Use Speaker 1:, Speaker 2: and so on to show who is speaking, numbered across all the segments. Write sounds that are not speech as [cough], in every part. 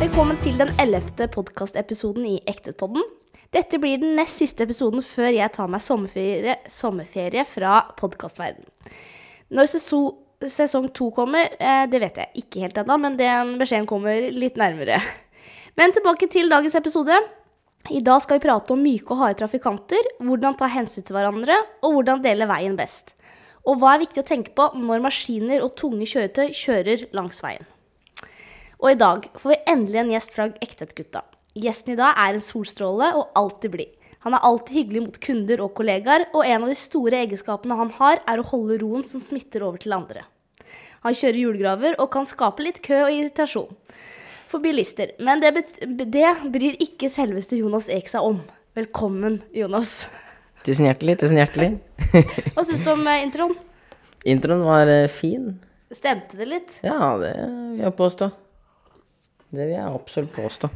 Speaker 1: Velkommen til den ellevte podkastepisoden i Ektepodden. Dette blir den nest siste episoden før jeg tar meg sommerferie, sommerferie fra podkastverden. Når seso- sesong to kommer, eh, det vet jeg ikke helt ennå, men den beskjeden kommer litt nærmere. Men tilbake til dagens episode. I dag skal vi prate om myke og harde trafikanter, hvordan ta hensyn til hverandre, og hvordan dele veien best. Og hva er viktig å tenke på når maskiner og tunge kjøretøy kjører langs veien. Og i dag får vi endelig en gjest fra Ektetgutta. Gjesten i dag er en solstråle og alltid blid. Han er alltid hyggelig mot kunder og kollegaer, og en av de store egenskapene han har, er å holde roen som smitter over til andre. Han kjører hjulgraver og kan skape litt kø og irritasjon for bilister, men det, bet- det bryr ikke selveste Jonas Eek seg om. Velkommen, Jonas.
Speaker 2: Tusen hjertelig, tusen hjertelig.
Speaker 1: Hva syns du om eh, introen?
Speaker 2: Introen var eh, fin.
Speaker 1: Stemte det litt?
Speaker 2: Ja, det vil jeg påstå. Det vil jeg absolutt påstå.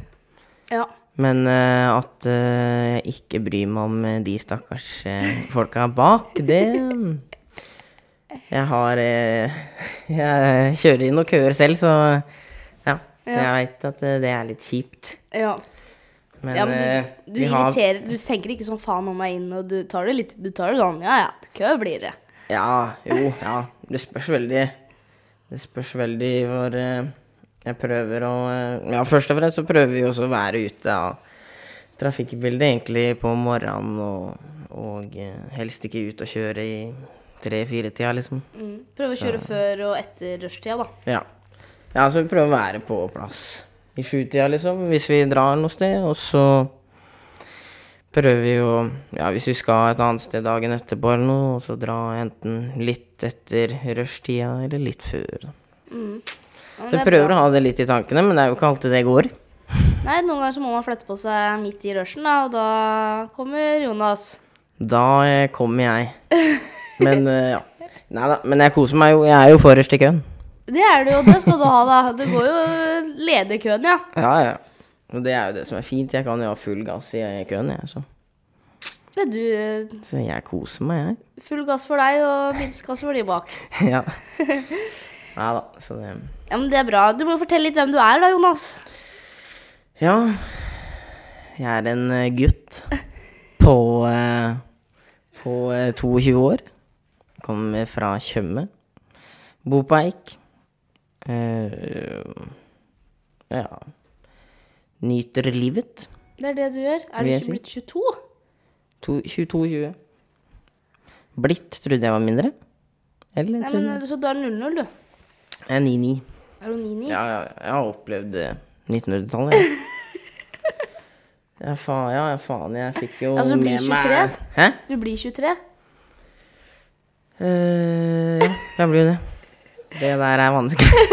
Speaker 1: Ja.
Speaker 2: Men eh, at eh, jeg ikke bryr meg om eh, de stakkars eh, folka bak, det Jeg har eh, [laughs] Jeg kjører i noen køer selv, så ja. Jeg veit at eh, det er litt kjipt.
Speaker 1: ja.
Speaker 2: Men,
Speaker 1: ja, men
Speaker 2: eh,
Speaker 1: du, du
Speaker 2: vi har-
Speaker 1: irriterer Du tenker ikke sånn 'faen om meg inn', og du tar det litt Du tar det sånn 'ja ja, kø blir det'.
Speaker 2: Ja, jo, ja. Det spørs veldig Det spørs veldig hvor eh, jeg prøver å eh, Ja, først og fremst så prøver vi også å være ute av trafikkbildet egentlig på morgenen og, og eh, helst ikke ut og kjøre i tre-fire-tida, liksom.
Speaker 1: Mm. Prøve å kjøre før og etter rushtida, da.
Speaker 2: Ja. ja, så vi prøver å være på plass i sjutida, liksom, hvis vi drar noe sted. Og så prøver vi å Ja, hvis vi skal et annet sted dagen etterpå eller noe, og så dra enten litt etter rushtida eller litt før. da.
Speaker 1: Ja, men
Speaker 2: Så
Speaker 1: det
Speaker 2: vi
Speaker 1: er
Speaker 2: prøver
Speaker 1: bra.
Speaker 2: å ha det litt i tankene, men det er jo ikke alltid det går.
Speaker 1: Nei, noen ganger så må man flytte på seg midt i rushen, da, og da kommer Jonas.
Speaker 2: Da eh, kommer jeg.
Speaker 1: [laughs]
Speaker 2: Men eh, ja. Nei da, men jeg koser meg jo. Jeg er jo forrest i køen.
Speaker 1: Det er det jo, det skal du ha, da. Du går jo leder køen, ja.
Speaker 2: Ja, ja. Og det er jo det som er fint. Jeg kan jo ha full gass i eh, køen, jeg, så.
Speaker 1: Det er du. eh,
Speaker 2: Så jeg koser meg, jeg.
Speaker 1: Full gass for deg og minst gass for de bak.
Speaker 2: [laughs] ja. Nei da, så det
Speaker 1: Ja, men det er bra. Du må jo fortelle litt hvem du er, da, Jonas.
Speaker 2: Ja. Jeg er en eh, gutt på eh, På eh, 22 år. Kommer fra Tjøme. Bor på Eik. Eh, ja. Nyter livet.
Speaker 1: Det er det du gjør. Er
Speaker 2: Vil
Speaker 1: du
Speaker 2: jeg
Speaker 1: ikke blitt 22?
Speaker 2: To- 22-20. Blitt trodde jeg var mindre. Eller
Speaker 1: Nei,
Speaker 2: trodde Eh,
Speaker 1: men Så du er 00, du.
Speaker 2: jeg er 9-9.
Speaker 1: Er du 99?
Speaker 2: Ja, ja, jeg har opplevd eh, 1900-tallet. jeg.
Speaker 1: [laughs]
Speaker 2: Ja, faen, ja, ja, faen, jeg fikk jo
Speaker 1: Altså, blir 23?
Speaker 2: Hæ?
Speaker 1: Du blir 23?
Speaker 2: Eh, ja, jeg blir jo det. Det der er vanskelig.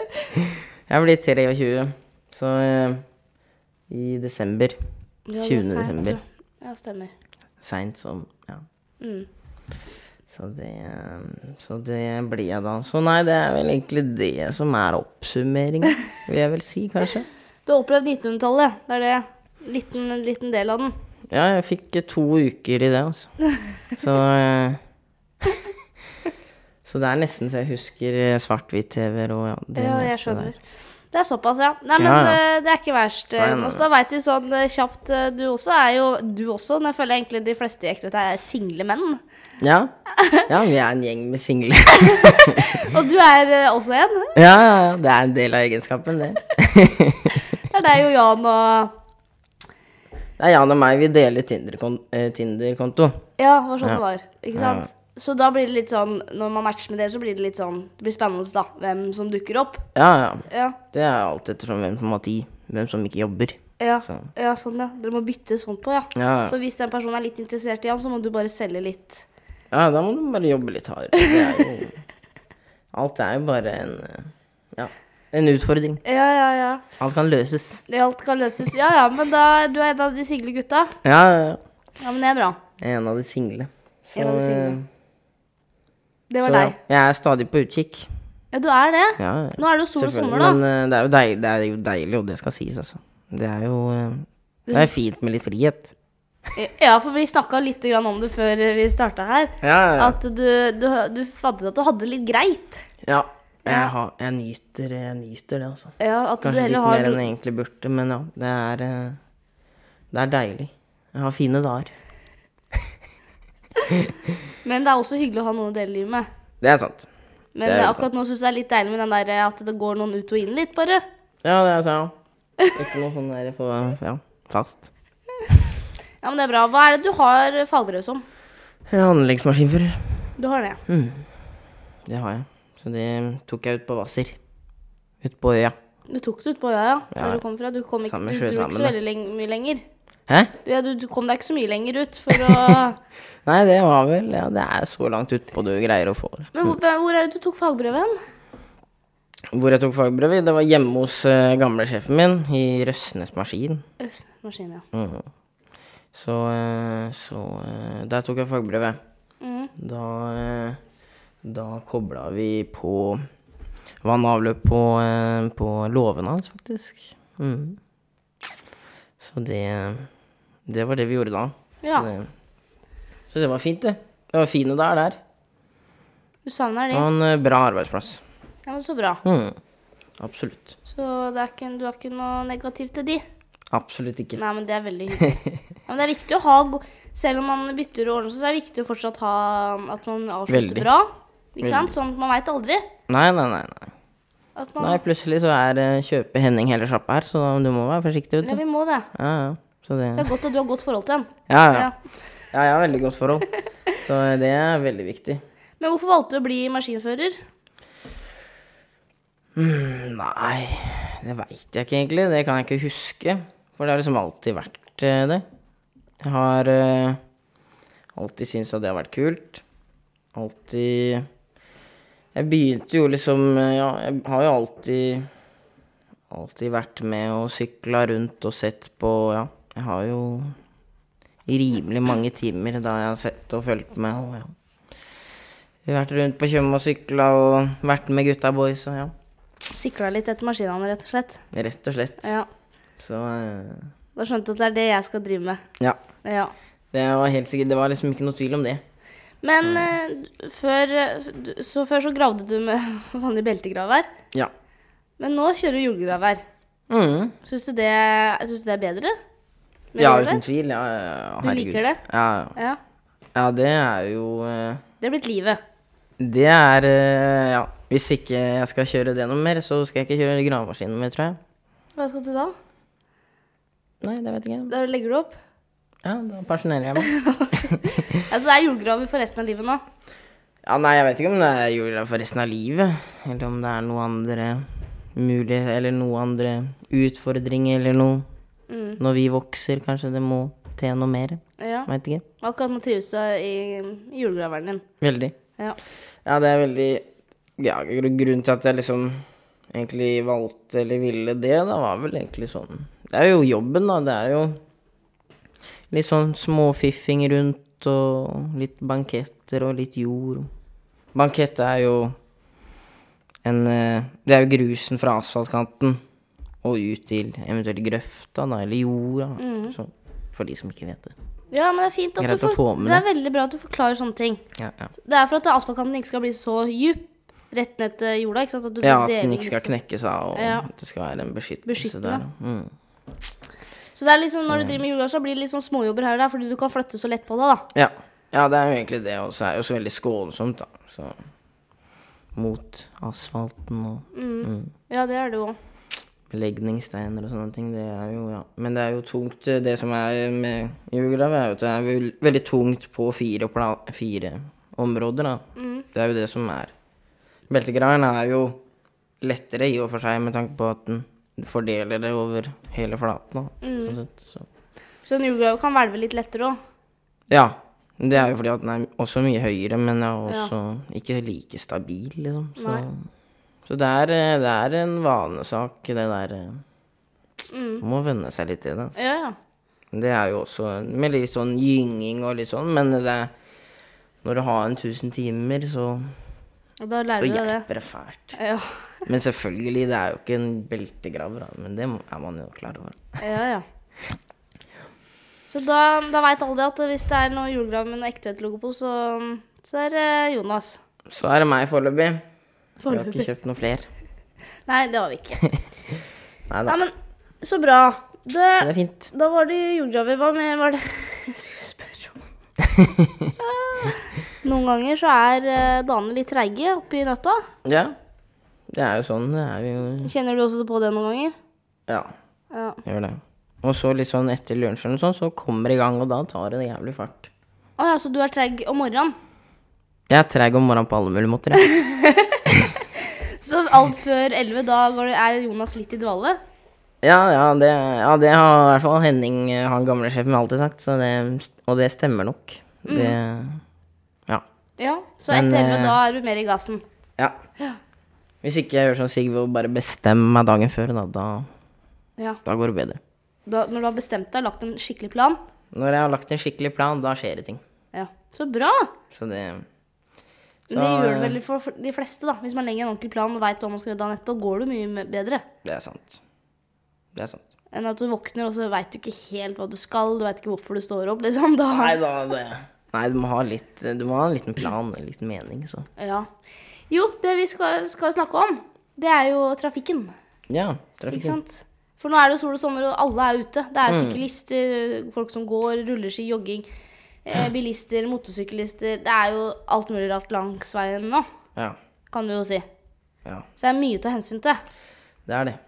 Speaker 2: [laughs] jeg blir 23, så eh, i desember.
Speaker 1: Ja, det er
Speaker 2: 20.
Speaker 1: sent,
Speaker 2: desember.
Speaker 1: du. Ja, stemmer.
Speaker 2: Seint som Ja.
Speaker 1: Mm.
Speaker 2: Så det, eh, så det blir jeg da. Så nei, det er vel egentlig det som er oppsummeringa, vil jeg vel si, kanskje.
Speaker 1: Du har opplevd 1900-tallet. Det er det. Liten, en liten del av den.
Speaker 2: Ja, jeg fikk eh, to uker i det, altså. Så eh, [laughs] Så det er nesten så jeg husker eh, svart-hvitt-TV-er og ja, det
Speaker 1: Ja, jeg
Speaker 2: meste der.
Speaker 1: skjønner. Det er såpass, ja. Nei, men
Speaker 2: Ja, ja.
Speaker 1: eh, det er ikke verst.
Speaker 2: Nei, nei,
Speaker 1: Jonas. da veit vi sånn eh, kjapt eh, Du også er jo Du også, men jeg føler egentlig de fleste i ekthet er single
Speaker 2: [laughs]
Speaker 1: menn.
Speaker 2: Ja. ja, vi er en gjeng med single. [laughs]
Speaker 1: Og du er eh, også en.
Speaker 2: ja, ja, ja, det er en del av egenskapen, det. [laughs]
Speaker 1: Det er deg og Jan og
Speaker 2: Det er Jan og meg, vi deler Tinder-kon- eh, Tinder-konto.
Speaker 1: Ja, det var sånn
Speaker 2: Ja.
Speaker 1: det var. Ikke sant? Så da blir det litt sånn Når man matcher med det, så blir det litt sånn Det blir spennende, da. Hvem som dukker opp.
Speaker 2: ja, ja.
Speaker 1: Ja.
Speaker 2: Det er alt ettersom hvem som har tid, hvem som ikke jobber.
Speaker 1: Ja,
Speaker 2: Sånn.
Speaker 1: ja, sånn ja. Dere må bytte sånn på, ja.
Speaker 2: Ja, ja.
Speaker 1: Så hvis den personen er litt interessert i han, så må du bare selge litt.
Speaker 2: Ja, da må du bare jobbe litt hardere. Det er
Speaker 1: [laughs]
Speaker 2: jo Alt er jo bare en eh, Ja, en utfordring.
Speaker 1: Ja, ja, ja.
Speaker 2: Alt kan løses.
Speaker 1: Det alt kan løses. Ja, ja, men da du er en av de single gutta.
Speaker 2: Ja, ja, ja.
Speaker 1: Ja, men det er bra.
Speaker 2: Jeg er en av de single. eh,
Speaker 1: En av de single. Det
Speaker 2: Så,
Speaker 1: var
Speaker 2: ja,
Speaker 1: deg.
Speaker 2: jeg er stadig på utkikk.
Speaker 1: Ja, du er det.
Speaker 2: Ja, ja,
Speaker 1: Nå er det jo sol og sommer,
Speaker 2: selvfølgelig.
Speaker 1: da.
Speaker 2: Men eh, det er, jo deilig, det er jo deilig, og det skal sies, altså. Det er jo eh, Det er fint med litt frihet.
Speaker 1: Ja, for vi snakka litt grann om det før vi starta her.
Speaker 2: Ja,
Speaker 1: At du, du, du fant ut at du hadde det litt greit.
Speaker 2: ja. Jeg, har, jeg, nyter, jeg nyter det, altså.
Speaker 1: Ja, at du
Speaker 2: Kanskje litt
Speaker 1: heller har
Speaker 2: mer enn jeg egentlig burde, men ja, det er, eh, det er deilig. Jeg har fine dager.
Speaker 1: Men det er også hyggelig å ha noen å dele livet med.
Speaker 2: Det er sant.
Speaker 1: Men
Speaker 2: Det er jo
Speaker 1: akkurat nå syns jeg det er litt deilig med den der eh, at det går noen ut og inn litt, bare.
Speaker 2: Ja, det er sant. ja. Ikke noe sånn der for ja, fast.
Speaker 1: Ja, men det er bra. Hva er det du har fagbrev som?
Speaker 2: Jeg er anleggsmaskinfører.
Speaker 1: Du har det.
Speaker 2: Det har jeg. Så det tok jeg ut på Hvasser. Ut på øya.
Speaker 1: Du tok det ut på øya, ja. Der du kom fra. Du kom ikke,
Speaker 2: Samme
Speaker 1: du
Speaker 2: sjø,
Speaker 1: dro ikke
Speaker 2: samme
Speaker 1: så
Speaker 2: det.
Speaker 1: veldig leng mye lenger.
Speaker 2: Hæ?
Speaker 1: Du, ja, du, du kom deg ikke så mye lenger ut for å
Speaker 2: [laughs] Nei, det var vel Ja, det er så langt utpå du greier å få det.
Speaker 1: Men hvor, hvor er det du tok fagbrevet hen?
Speaker 2: Hvor jeg tok fagbrevet, det var hjemme hos eh, gamle sjefen min i Røsnes Maskin.
Speaker 1: Østmaskin, ja.
Speaker 2: Mhm. Så, eh, så eh, der tok jeg fagbrevet.
Speaker 1: Mhm.
Speaker 2: Da, eh, da kobla vi på vann og avløp på, eh, på låven hans, faktisk. Mhm. Så det, det var det vi gjorde da.
Speaker 1: Ja,
Speaker 2: Så, det, så det var fint, det. Det var fine dager der.
Speaker 1: du savner
Speaker 2: Det
Speaker 1: det.
Speaker 2: var en eh, bra arbeidsplass.
Speaker 1: Ja, men så bra.
Speaker 2: Mhm. Absolutt.
Speaker 1: Så det er ikke, du har ikke noe negativt til de?
Speaker 2: Absolutt ikke.
Speaker 1: Nei, men det er veldig
Speaker 2: [laughs]
Speaker 1: hyggelig. Ja, men det er viktig å ha go Selv om man bytter og ordner seg, så er det viktig å fortsatt ha at man avslutter
Speaker 2: Veldig.
Speaker 1: bra. Ikke sant? Sånn at man veit aldri.
Speaker 2: Nei, nei, nei. nei.
Speaker 1: At man,
Speaker 2: Nei, plutselig så er eh, kjøper Henning hele sjappa her, så da- du må være forsiktig, vet
Speaker 1: ja,
Speaker 2: du.
Speaker 1: vi må det.
Speaker 2: Ja, ja. Så det
Speaker 1: Så det er godt at du har godt forhold til den.
Speaker 2: Ja, ja.
Speaker 1: Ja.
Speaker 2: Ja, jeg har veldig godt forhold. Så eh, det er veldig viktig.
Speaker 1: Men hvorfor valgte du å bli maskinfører?
Speaker 2: Nei, det veit jeg ikke egentlig. Det kan jeg ikke huske. For det har liksom alltid vært eh, det. Jeg har eh, alltid syntes at det har vært kult. Alltid Jeg begynte jo liksom eh, Ja, jeg har jo alltid Alltid vært med og sykla rundt og sett på Ja, jeg har jo rimelig mange timer da jeg har sett og fulgt med. Og, ja. Vi har vært rundt på Tjøme og sykla og vært med gutta boys og ja.
Speaker 1: Sikla litt etter maskinene, rett og slett.
Speaker 2: Rett og slett.
Speaker 1: Ja.
Speaker 2: Så eh,
Speaker 1: Da skjønte du at det er det jeg skal drive med.
Speaker 2: ja.
Speaker 1: Ja.
Speaker 2: Det var helt sikkert, det var liksom ikke noe tvil om det.
Speaker 1: Men eh, før, eh, du- så før så gravde du med [laughs] vanlig beltegravvær.
Speaker 2: Ja.
Speaker 1: Men nå kjører du jordgravvær.
Speaker 2: Mm.
Speaker 1: Syns du, det- syns du det er bedre? Med
Speaker 2: Ja,
Speaker 1: jordgravvær?
Speaker 2: uten tvil. Ja, ja, ja,
Speaker 1: Du liker det?
Speaker 2: Ja, ja.
Speaker 1: Ja.
Speaker 2: ja, det er jo eh,
Speaker 1: Det er blitt livet.
Speaker 2: Det er eh, Ja. Hvis ikke jeg skal kjøre det noe mer, så skal jeg ikke kjøre gravemaskin noe mer, tror jeg.
Speaker 1: Hva skal du da?
Speaker 2: Nei, det vet jeg ikke.
Speaker 1: Da legger
Speaker 2: [laughs]
Speaker 1: du opp?
Speaker 2: Ja, da pensjonerer jeg meg. [laughs]
Speaker 1: Altså, det er jordgraver for resten av livet nå.
Speaker 2: Ja, nei, jeg vet ikke om det er julegrav for resten av livet, eller om det er noe andre muligheter, eller noe andre utfordringer, eller noe.
Speaker 1: Mm.
Speaker 2: Når vi vokser, kanskje det må til noe mer.
Speaker 1: Ja.
Speaker 2: Veit ikke.
Speaker 1: Akkurat nå trives du i i jordgraveren din.
Speaker 2: Veldig.
Speaker 1: Ja.
Speaker 2: Ja, det er veldig ja, gr- Grunnen til at jeg liksom egentlig valgte eller ville det, da, var vel egentlig sånn Det er jo jobben, da. Det er jo litt sånn småfiffing rundt og litt banketter og litt jord. Bankett er jo en eh, Det er jo grusen fra asfaltkanten og ut til eventuelt grøfta, da, eller jorda. Så, for de som ikke vet det.
Speaker 1: ja, men det er fint at
Speaker 2: Greit
Speaker 1: du
Speaker 2: å
Speaker 1: får,
Speaker 2: få med
Speaker 1: Det er veldig bra at du forklarer sånne ting.
Speaker 2: Ja, ja.
Speaker 1: Det er for at asfaltkanten ikke skal bli så djup rett ned til jorda. ikke sant? At du
Speaker 2: Ja, at den
Speaker 1: deler
Speaker 2: ikke skal
Speaker 1: litt sånn.
Speaker 2: knekkes av, og
Speaker 1: Ja.
Speaker 2: at det skal være en beskyttelse
Speaker 1: Beskyttende.
Speaker 2: der. da. Mm.
Speaker 1: Så det er liksom, når du driver med jordgras, så blir det litt sånn småjobber her og der, fordi du kan flytte så lett på det. da.
Speaker 2: Ja. ja, det er jo egentlig det, og så er det jo så veldig skånsomt, da. Så mot asfalten og
Speaker 1: Ja, det er det jo òg.
Speaker 2: belegningssteiner og sånne ting, det er jo ja. Men det er jo tungt, eh, det som er med jordgrav, er jo at det er vel, veldig tungt på fire, pla fire områder, da.
Speaker 1: Mm.
Speaker 2: Det er jo det som er Beltegraven er jo lettere i og for seg, med tanke på at den fordeler det over hele flaten. Da.
Speaker 1: Mm.
Speaker 2: Sånn sett, så.
Speaker 1: Så en jordgrav kan hvelve litt lettere òg.
Speaker 2: Ja. Det er jo fordi at den er også mye høyere, men den er også ikke like stabil, liksom. Så, så det, er, eh, det er en vanesak, det der. eh.
Speaker 1: Mm.
Speaker 2: Må venne seg litt til det. altså.
Speaker 1: Ja, ja.
Speaker 2: Det er jo også med litt sånn gynging og litt sånn, men det er, når du har en 1000 timer, så,
Speaker 1: Og da
Speaker 2: så
Speaker 1: lærer du deg det.
Speaker 2: hjelper det fælt.
Speaker 1: Ja,
Speaker 2: Men selvfølgelig, det er jo ikke en beltegraver, da, men det må- er man jo klar over.
Speaker 1: ja, ja. Så da, da veit alle det at hvis det er noe jordgrav med noe ektehet-logo på, så, så er det Jonas.
Speaker 2: Så er det meg foreløpig. Vi har ikke
Speaker 1: Foreløpig.
Speaker 2: kjøpt noen flere.
Speaker 1: Nei, det har vi
Speaker 2: [laughs]
Speaker 1: ikke.
Speaker 2: Nei da.
Speaker 1: Nei, men så bra. Det,
Speaker 2: Så det er fint.
Speaker 1: da var det jordjaver. Hva mer var det [laughs] jeg skulle spørre om?
Speaker 2: [laughs]
Speaker 1: Noen ganger så er eh, damene litt treige oppi nøtta.
Speaker 2: Ja. Det er jo sånn. Det er jo
Speaker 1: Kjenner du også på det noen ganger?
Speaker 2: Ja,
Speaker 1: Ja.
Speaker 2: gjør det. Og så litt sånn etter lunsjen og sånn, så kommer det i gang, og da tar det jævlig fart.
Speaker 1: Å ja, så du er treig om morgenen?
Speaker 2: Jeg er treig om morgenen på alle mulige måter, jeg.
Speaker 1: Så alt før 11, da går det, er Jonas litt i dvale?
Speaker 2: [laughs] Ja, ja, det, ja, det har i hvert fall Henning, eh, han gamle sjefen, alltid sagt, så det, og det stemmer nok. Det Ja.
Speaker 1: Ja. Så
Speaker 2: Men,
Speaker 1: etter 11,
Speaker 2: eh,
Speaker 1: da er du mer i gassen?
Speaker 2: ja. Hvis ikke jeg gjør som Sigve og bare bestemmer meg dagen før, da, da,
Speaker 1: Ja.
Speaker 2: da går det bedre.
Speaker 1: Da, når du har bestemt deg, lagt en skikkelig plan?
Speaker 2: Når jeg har lagt en skikkelig plan, da skjer det ting.
Speaker 1: Ja. Så bra!
Speaker 2: Så det
Speaker 1: Men det
Speaker 2: Så,
Speaker 1: gjør det
Speaker 2: eh,
Speaker 1: vel for for de fleste, da. Hvis man legger en ordentlig plan og veit hva man skal gjøre dagen etterpå, går det mye me- bedre
Speaker 2: Det er sant. Det er sant.
Speaker 1: enn at du våkner, og så veit du ikke helt hva du skal, du veit ikke hvorfor du står opp, liksom. Da.
Speaker 2: Nei da, det Nei, du må ha litt Du må ha en liten plan, en liten mening, så.
Speaker 1: Ja. Jo, det vi skal, skal snakke om, det er jo trafikken.
Speaker 2: Ja,
Speaker 1: Ikke
Speaker 2: trafikken.
Speaker 1: sant? For nå er det jo sol og sommer, og alle er ute. Det er syklister, folk som går, rulleski, jogging, eh, bilister, motorsyklister Det er jo alt mulig rart langs veien nå,
Speaker 2: Ja.
Speaker 1: kan du jo si.
Speaker 2: Ja.
Speaker 1: Så det er mye å ta hensyn til.
Speaker 2: Det er det.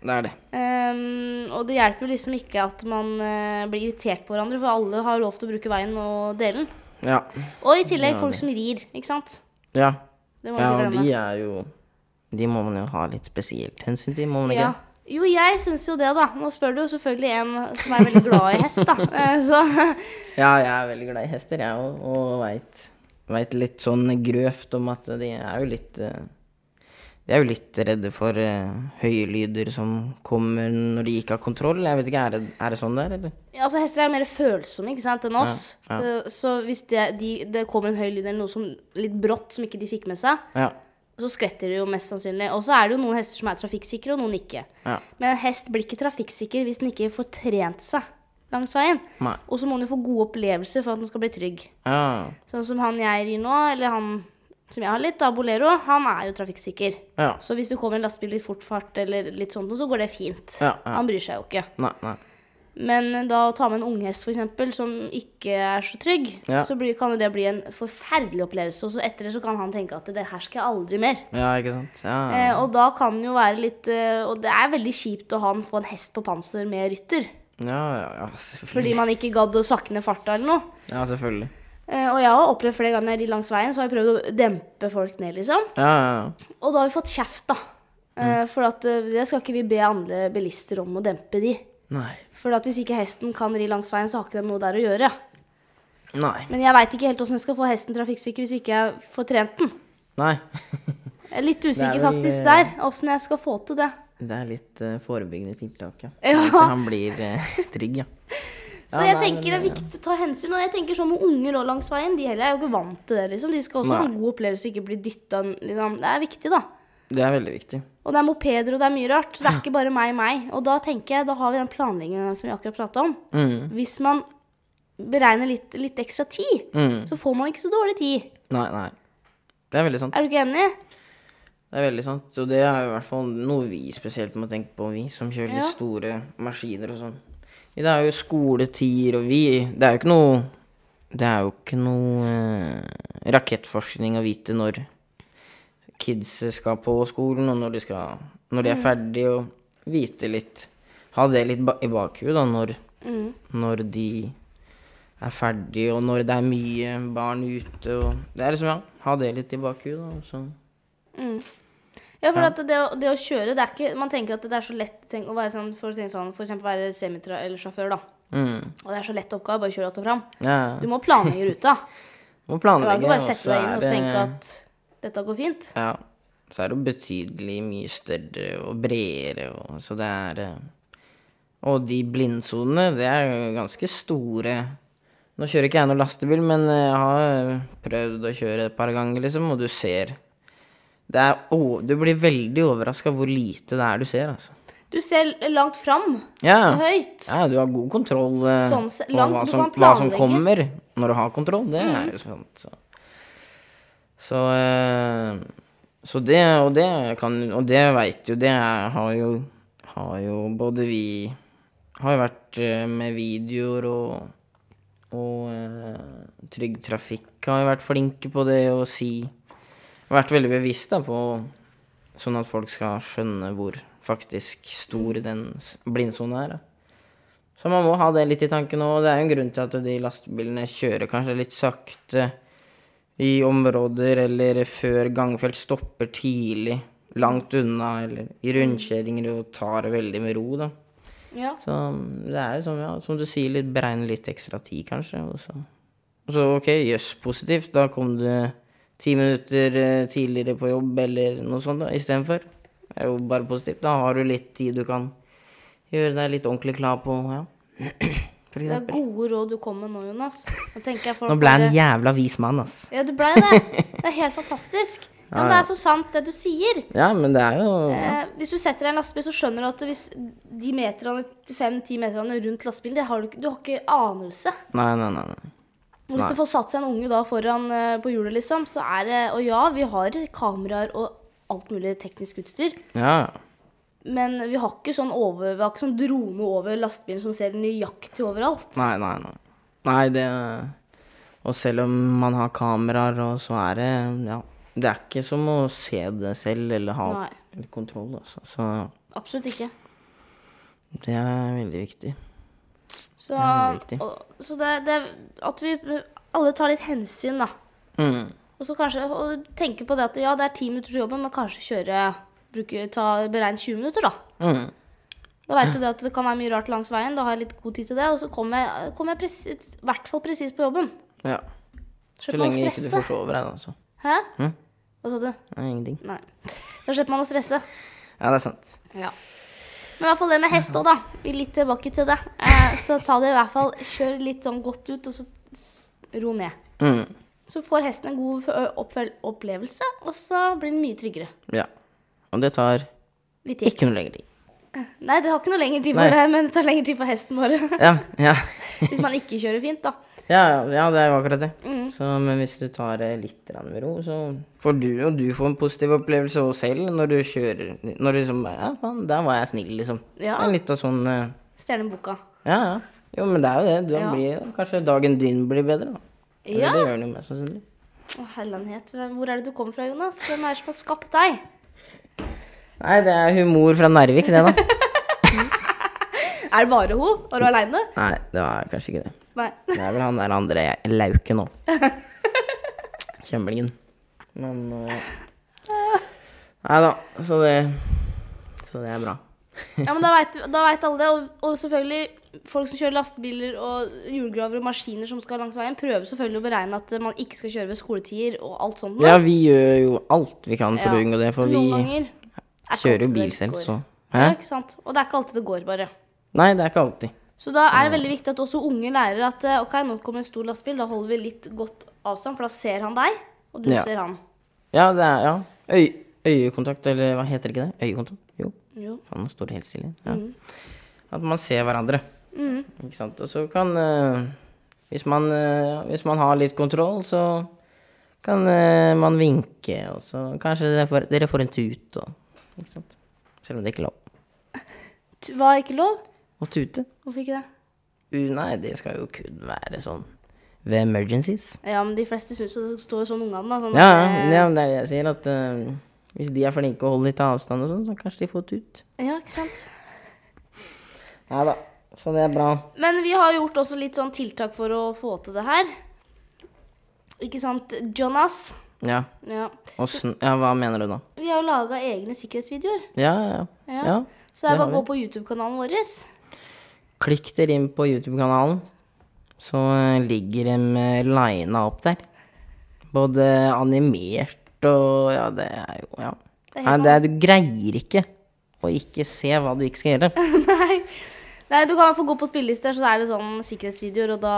Speaker 2: Det er det.
Speaker 1: Ehm, og det hjelper jo liksom ikke at man eh, blir irritert på hverandre, for alle har lov til å bruke veien og dele den.
Speaker 2: Ja.
Speaker 1: Og i tillegg folk som rir, ikke sant.
Speaker 2: Ja.
Speaker 1: Det må
Speaker 2: ja
Speaker 1: man
Speaker 2: og
Speaker 1: ikke
Speaker 2: de
Speaker 1: glemme.
Speaker 2: er jo De må man jo ha litt spesielt hensyn til, må man ikke?
Speaker 1: Ja. Jo, jeg syns jo det, da. Nå spør du jo selvfølgelig en som er veldig glad i
Speaker 2: [laughs]
Speaker 1: hest, da. Eh, Så
Speaker 2: Ja, jeg er veldig glad i hester, jeg òg, og veit Veit litt sånn grøvt om at de er jo litt eh, De er jo litt redde for eh, høye lyder som kommer når de ikke har kontroll. Jeg vet ikke, er det, er det sånn det er, eller?
Speaker 1: Ja, altså Hester er mer følsomme ikke sant, enn oss.
Speaker 2: Ja,
Speaker 1: Eh, Så hvis det, de, det kommer en høy lyd eller noe som, litt brått som ikke de fikk med seg,
Speaker 2: Ja.
Speaker 1: så skvetter de jo mest sannsynlig. Og så er det jo noen hester som er trafikksikre, og noen ikke.
Speaker 2: Ja.
Speaker 1: Men en hest blir ikke trafikksikker hvis den ikke får trent seg langs veien.
Speaker 2: Nei.
Speaker 1: Og så må den jo få gode opplevelser for at den skal bli trygg.
Speaker 2: Ja.
Speaker 1: Sånn som han jeg rir nå, eller han som jeg har litt, da, Bolero, han er jo trafikksikker.
Speaker 2: ja.
Speaker 1: Så hvis det kommer en lastebil i fort fart eller litt sånt, så går det fint.
Speaker 2: Ja, ja.
Speaker 1: Han bryr seg jo ikke.
Speaker 2: Nei, nei.
Speaker 1: Men da å ta med en unghest for eksempel, som ikke er så trygg,
Speaker 2: Ja.
Speaker 1: så blir, kan jo det bli en forferdelig opplevelse. Og så etter det så kan han tenke at det her skal jeg aldri mer.
Speaker 2: Ja, ikke sant? Ja.
Speaker 1: Eh, og da kan det jo være litt eh, Og det er veldig kjipt å ha han få en hest på panser med rytter.
Speaker 2: Ja, ja, ja, selvfølgelig.
Speaker 1: Fordi man ikke gadd å sakke ned farta eller noe.
Speaker 2: Ja, selvfølgelig.
Speaker 1: Eh, og jeg har opplevd flere ganger når jeg rir langs veien, så har jeg prøvd å dempe folk ned, liksom.
Speaker 2: Ja, ja, ja.
Speaker 1: Og da har vi fått kjeft, da. Eh, for at eh, det skal ikke vi be andre bilister om å dempe de.
Speaker 2: Nei.
Speaker 1: For at hvis ikke hesten kan ri langs veien, så har ikke den noe der å gjøre.
Speaker 2: Nei.
Speaker 1: Men jeg veit ikke helt åssen jeg skal få hesten trafikksikker hvis ikke jeg får trent den.
Speaker 2: Nei.
Speaker 1: Jeg er litt usikker
Speaker 2: Det er vel,
Speaker 1: faktisk
Speaker 2: eh,
Speaker 1: der, åssen jeg skal få til det.
Speaker 2: Det er litt eh, forebyggende tiltak, ja.
Speaker 1: Ja.
Speaker 2: At han blir eh, trygg, ja.
Speaker 1: Så jeg tenker det er viktig å ta hensyn. Og jeg tenker sånn med unger òg langs veien, de heller er jo ikke vant til det, liksom. De skal også ha en god opplevelse, ikke bli dytta liksom. Det er viktig, da.
Speaker 2: Det er veldig viktig.
Speaker 1: Og det er mopeder, og det er mye rart. Så det er ikke bare meg, meg. Og da tenker jeg, da har vi den planleggingen som vi akkurat prata om.
Speaker 2: Mm.
Speaker 1: Hvis man beregner litt, litt ekstra tid,
Speaker 2: Mm.
Speaker 1: så får man ikke så dårlig tid.
Speaker 2: Nei, nei. Det er veldig sant.
Speaker 1: Er du ikke enig?
Speaker 2: Det er veldig sant. Og det er i hvert fall noe vi spesielt må tenke på, vi som kjører litt
Speaker 1: Ja.
Speaker 2: store maskiner og sånn. Det er jo skoletider, og vi Det er jo ikke noe Det er jo ikke noe eh, rakettforskning å vite når kids skal på skolen, og når de, skal, når de er ferdige, og vite litt Ha det litt ba i bakhuet da, når, når de er ferdige, og når det er mye barn ute, og Det er liksom, ja. Ha det litt i bakhuet, da. og Sånn.
Speaker 1: Ja, for at det, å- det å kjøre, det er ikke Man tenker at det er så lett tenk, å være sånn, for å si det sånn, for eksempel være semitra eller sjåfør, da.
Speaker 2: Mm.
Speaker 1: Og det er så lett oppgave, bare kjør att og fram.
Speaker 2: Ja.
Speaker 1: Du må planlegge ruta.
Speaker 2: Må
Speaker 1: Du
Speaker 2: planlegge.
Speaker 1: kan ikke bare
Speaker 2: og
Speaker 1: sette
Speaker 2: så
Speaker 1: deg inn
Speaker 2: er
Speaker 1: og
Speaker 2: det-
Speaker 1: tenke at
Speaker 2: altså,
Speaker 1: dette går fint.
Speaker 2: Ja. Så er det jo betydelig mye større og bredere, og så det er eh, Og de blindsonene, det er jo ganske store. Nå kjører ikke jeg noen lastebil, men eh, jeg har prøvd å kjøre et par ganger, liksom, og du ser det er, å, Du blir veldig overraska hvor lite det er du ser, altså.
Speaker 1: Du ser langt fram og
Speaker 2: Ja,
Speaker 1: høyt.
Speaker 2: ja du har god kontroll eh,
Speaker 1: Sånn se-
Speaker 2: på
Speaker 1: langt-
Speaker 2: hva
Speaker 1: du kan
Speaker 2: som, hva som
Speaker 1: planlegge. Mm.
Speaker 2: kommer, når du har kontroll. Det er jo sant. Så, så sånn, eh, Så det, og det kan Og det veit jo, det er, har jo Har jo både vi Har jo vært eh, med videoer og Og eh, Trygg Trafikk har jo vært flinke på det å si Vært veldig bevisst da på Sånn at folk skal skjønne hvor faktisk stor den s- blindsona er. Da. Så man må ha det litt i tanken nå. og Det er jo en grunn til at de lastebilene kjører kanskje litt sakte i områder eller før gangfelt stopper tidlig, langt unna eller i rundkjøringer og tar det veldig med ro, da.
Speaker 1: Ja.
Speaker 2: Så det er jo som, ja, som du sier, litt beregne litt ekstra tid, kanskje. Og så, og så ok, jøss, positivt. Da kom du ti minutter eh, tidligere på jobb eller noe sånt da, istedenfor. Det er jo bare positivt. Da har du litt tid du kan gjøre deg litt ordentlig klar på, ja. [clears throat] For
Speaker 1: Det er
Speaker 2: eksempel.
Speaker 1: gode råd du kom med nå, Jonas. Nå tenker jeg folk
Speaker 2: Nå ble jeg
Speaker 1: bare-
Speaker 2: en jævla vis mann, ass.
Speaker 1: Ja, du blei det. Det er helt fantastisk. Ja, men det er så sant, det du sier.
Speaker 2: Ja, men det er jo
Speaker 1: Eh, hvis du setter deg i en lastebil, så skjønner du at hvis de meterne, fem-ti meterne rundt lastebilen, det har du, ikke- du har ikke anelse.
Speaker 2: Nei, nei, nei. nei.
Speaker 1: Og Hvis det får satt seg en unge da foran eh, på hjulet, liksom, så er det Og ja, vi har kameraer og alt mulig teknisk utstyr,
Speaker 2: Ja, ja.
Speaker 1: men vi har ikke sånn, over, vi har ikke sånn drone over lastebilen som ser nøyaktig overalt.
Speaker 2: Nei, nei, nei. Nei, det Og selv om man har kameraer, og så er det Ja. Det er ikke som å se det selv eller ha kontroll, altså. Så
Speaker 1: Absolutt ikke.
Speaker 2: det er veldig viktig.
Speaker 1: Så,
Speaker 2: Det er veldig viktig.
Speaker 1: og, så det, det At vi alle tar litt hensyn, da.
Speaker 2: Mm.
Speaker 1: Og så kanskje og tenke på det at ja, det er ti minutter til jobben, men kanskje kjøre bruke, ta, Beregn 20 minutter, da.
Speaker 2: Mm.
Speaker 1: Da veit du det at det kan være mye rart langs veien, da har jeg litt god tid til det. Og så kommer jeg, kommer jeg pres- i hvert fall presis på jobben.
Speaker 2: Ja. Så
Speaker 1: Slipper man å
Speaker 2: lenge ikke du
Speaker 1: stresse.
Speaker 2: forsover deg, da, så.
Speaker 1: Hæ?
Speaker 2: Hm?
Speaker 1: Hva sa du?
Speaker 2: Nei, ingenting.
Speaker 1: Nei. Da slipper man å stresse.
Speaker 2: Ja, det er sant.
Speaker 1: Ja. Men i hvert fall det med hest òg, da. Vi er Litt tilbake til det. Eh, så ta det i hvert fall, kjør litt sånn godt ut, og så s- ro ned.
Speaker 2: Mm.
Speaker 1: Så får hesten en god ø, oppfel- opplevelse, og så blir den mye tryggere.
Speaker 2: Ja. Og det tar
Speaker 1: Litt tid.
Speaker 2: ikke noe lenger tid.
Speaker 1: Nei, det har ikke noe lengre tid
Speaker 2: Nei.
Speaker 1: for deg, men det tar lengre tid for hesten vår. [laughs]
Speaker 2: Ja, ja.
Speaker 1: Hvis man ikke kjører fint, da.
Speaker 2: Ja, ja, ja, det er jo akkurat det.
Speaker 1: Mm.
Speaker 2: Så, men hvis du tar det litt grann med ro, så får du og du får en positiv opplevelse også selv når du kjører. Når du liksom bare Ja, faen, der var jeg snill, liksom.
Speaker 1: Ja.
Speaker 2: Det er litt av sånn eh,
Speaker 1: Stjerneboka.
Speaker 2: Ja, ja. Jo, men det er jo det. Da
Speaker 1: Ja.
Speaker 2: blir kanskje dagen din blir bedre, da. Eller
Speaker 1: Ja.
Speaker 2: Det gjør den jo mest sannsynlig.
Speaker 1: Å, herlighet. Hvor er det du kommer fra, Jonas? Hvem er det som har skapt deg?
Speaker 2: Nei, det er humor fra
Speaker 1: [laughs]
Speaker 2: Narvik, det, da.
Speaker 1: Er det bare hun? Var du aleine?
Speaker 2: Nei, det var kanskje ikke det.
Speaker 1: Nei. [laughs]
Speaker 2: Det er vel han der andre lauken òg. Kjemlingen. Men eh, Nei da, så det Så det er bra.
Speaker 1: Ja, men da veit da vet alle det. Og, og selvfølgelig, folk som kjører lastebiler og hjulgraver og maskiner som skal langs veien, prøver selvfølgelig å beregne at man ikke skal kjøre ved skoletider og alt sånt.
Speaker 2: Ja, vi gjør jo alt vi kan for å
Speaker 1: Ja.
Speaker 2: unngå det, for
Speaker 1: Noen
Speaker 2: vi
Speaker 1: ganger er ikke
Speaker 2: kjører jo
Speaker 1: alltid
Speaker 2: bil
Speaker 1: det
Speaker 2: selv,
Speaker 1: går.
Speaker 2: så
Speaker 1: Ja,
Speaker 2: Hæ?
Speaker 1: ikke sant. Og det er ikke alltid det går, bare.
Speaker 2: Nei, det er ikke alltid.
Speaker 1: Så da er det veldig viktig at også unge lærer at eh, ok, nå kommer en stor lastebil, da holder vi litt godt avstand, for da ser han deg, og du
Speaker 2: Ja.
Speaker 1: ser han.
Speaker 2: Ja, det er Ja. Øy, øyekontakt, eller hva heter ikke det? Øyekontakt? Jo.
Speaker 1: Jo.
Speaker 2: Faen, nå står det helt stille. Ja.
Speaker 1: Mm.
Speaker 2: At man ser hverandre. Ikke sant. Og så kan eh, hvis, man, eh, hvis man har litt kontroll, så kan eh, man vinke, og så kanskje dere får, dere får en tut og Ikke sant. Selv om det ikke er lov.
Speaker 1: T- Var ikke lov?
Speaker 2: Å tute?
Speaker 1: Hvorfor ikke det?
Speaker 2: U, nei, det skal jo kun være sånn ved emergencies.
Speaker 1: Ja, men de fleste syns jo det står jo sånn ungene, da. Sånn
Speaker 2: Ja,
Speaker 1: at,
Speaker 2: ja,
Speaker 1: eh,
Speaker 2: ja, men det er det jeg sier, at eh, hvis de er flinke og holder litt avstand og sånn, så kanskje de får tut.
Speaker 1: ja, ikke sant.
Speaker 2: Ja da, så det er bra.
Speaker 1: Men vi har gjort også litt sånn tiltak for å få til det her. Ikke sant, Jonas?
Speaker 2: Ja,
Speaker 1: Ja.
Speaker 2: og sn ja hva mener du da?
Speaker 1: Vi har jo laga egne sikkerhetsvideoer.
Speaker 2: Ja, ja, ja.
Speaker 1: Ja.
Speaker 2: ja.
Speaker 1: Så det
Speaker 2: det
Speaker 1: er bare
Speaker 2: har
Speaker 1: å gå på YouTube-kanalen vår.
Speaker 2: Klikk dere inn på YouTube-kanalen, så eh, ligger de eh, lina opp der. Både animert og Ja, det er jo Ja.
Speaker 1: Det er helt
Speaker 2: Nei, det er, du greier ikke å ikke se hva du ikke
Speaker 1: [laughs]
Speaker 2: skal gjøre.
Speaker 1: Nei. Nei, du kan i hvert fall gå på spillelister, så er det sånn sikkerhetsvideoer, og da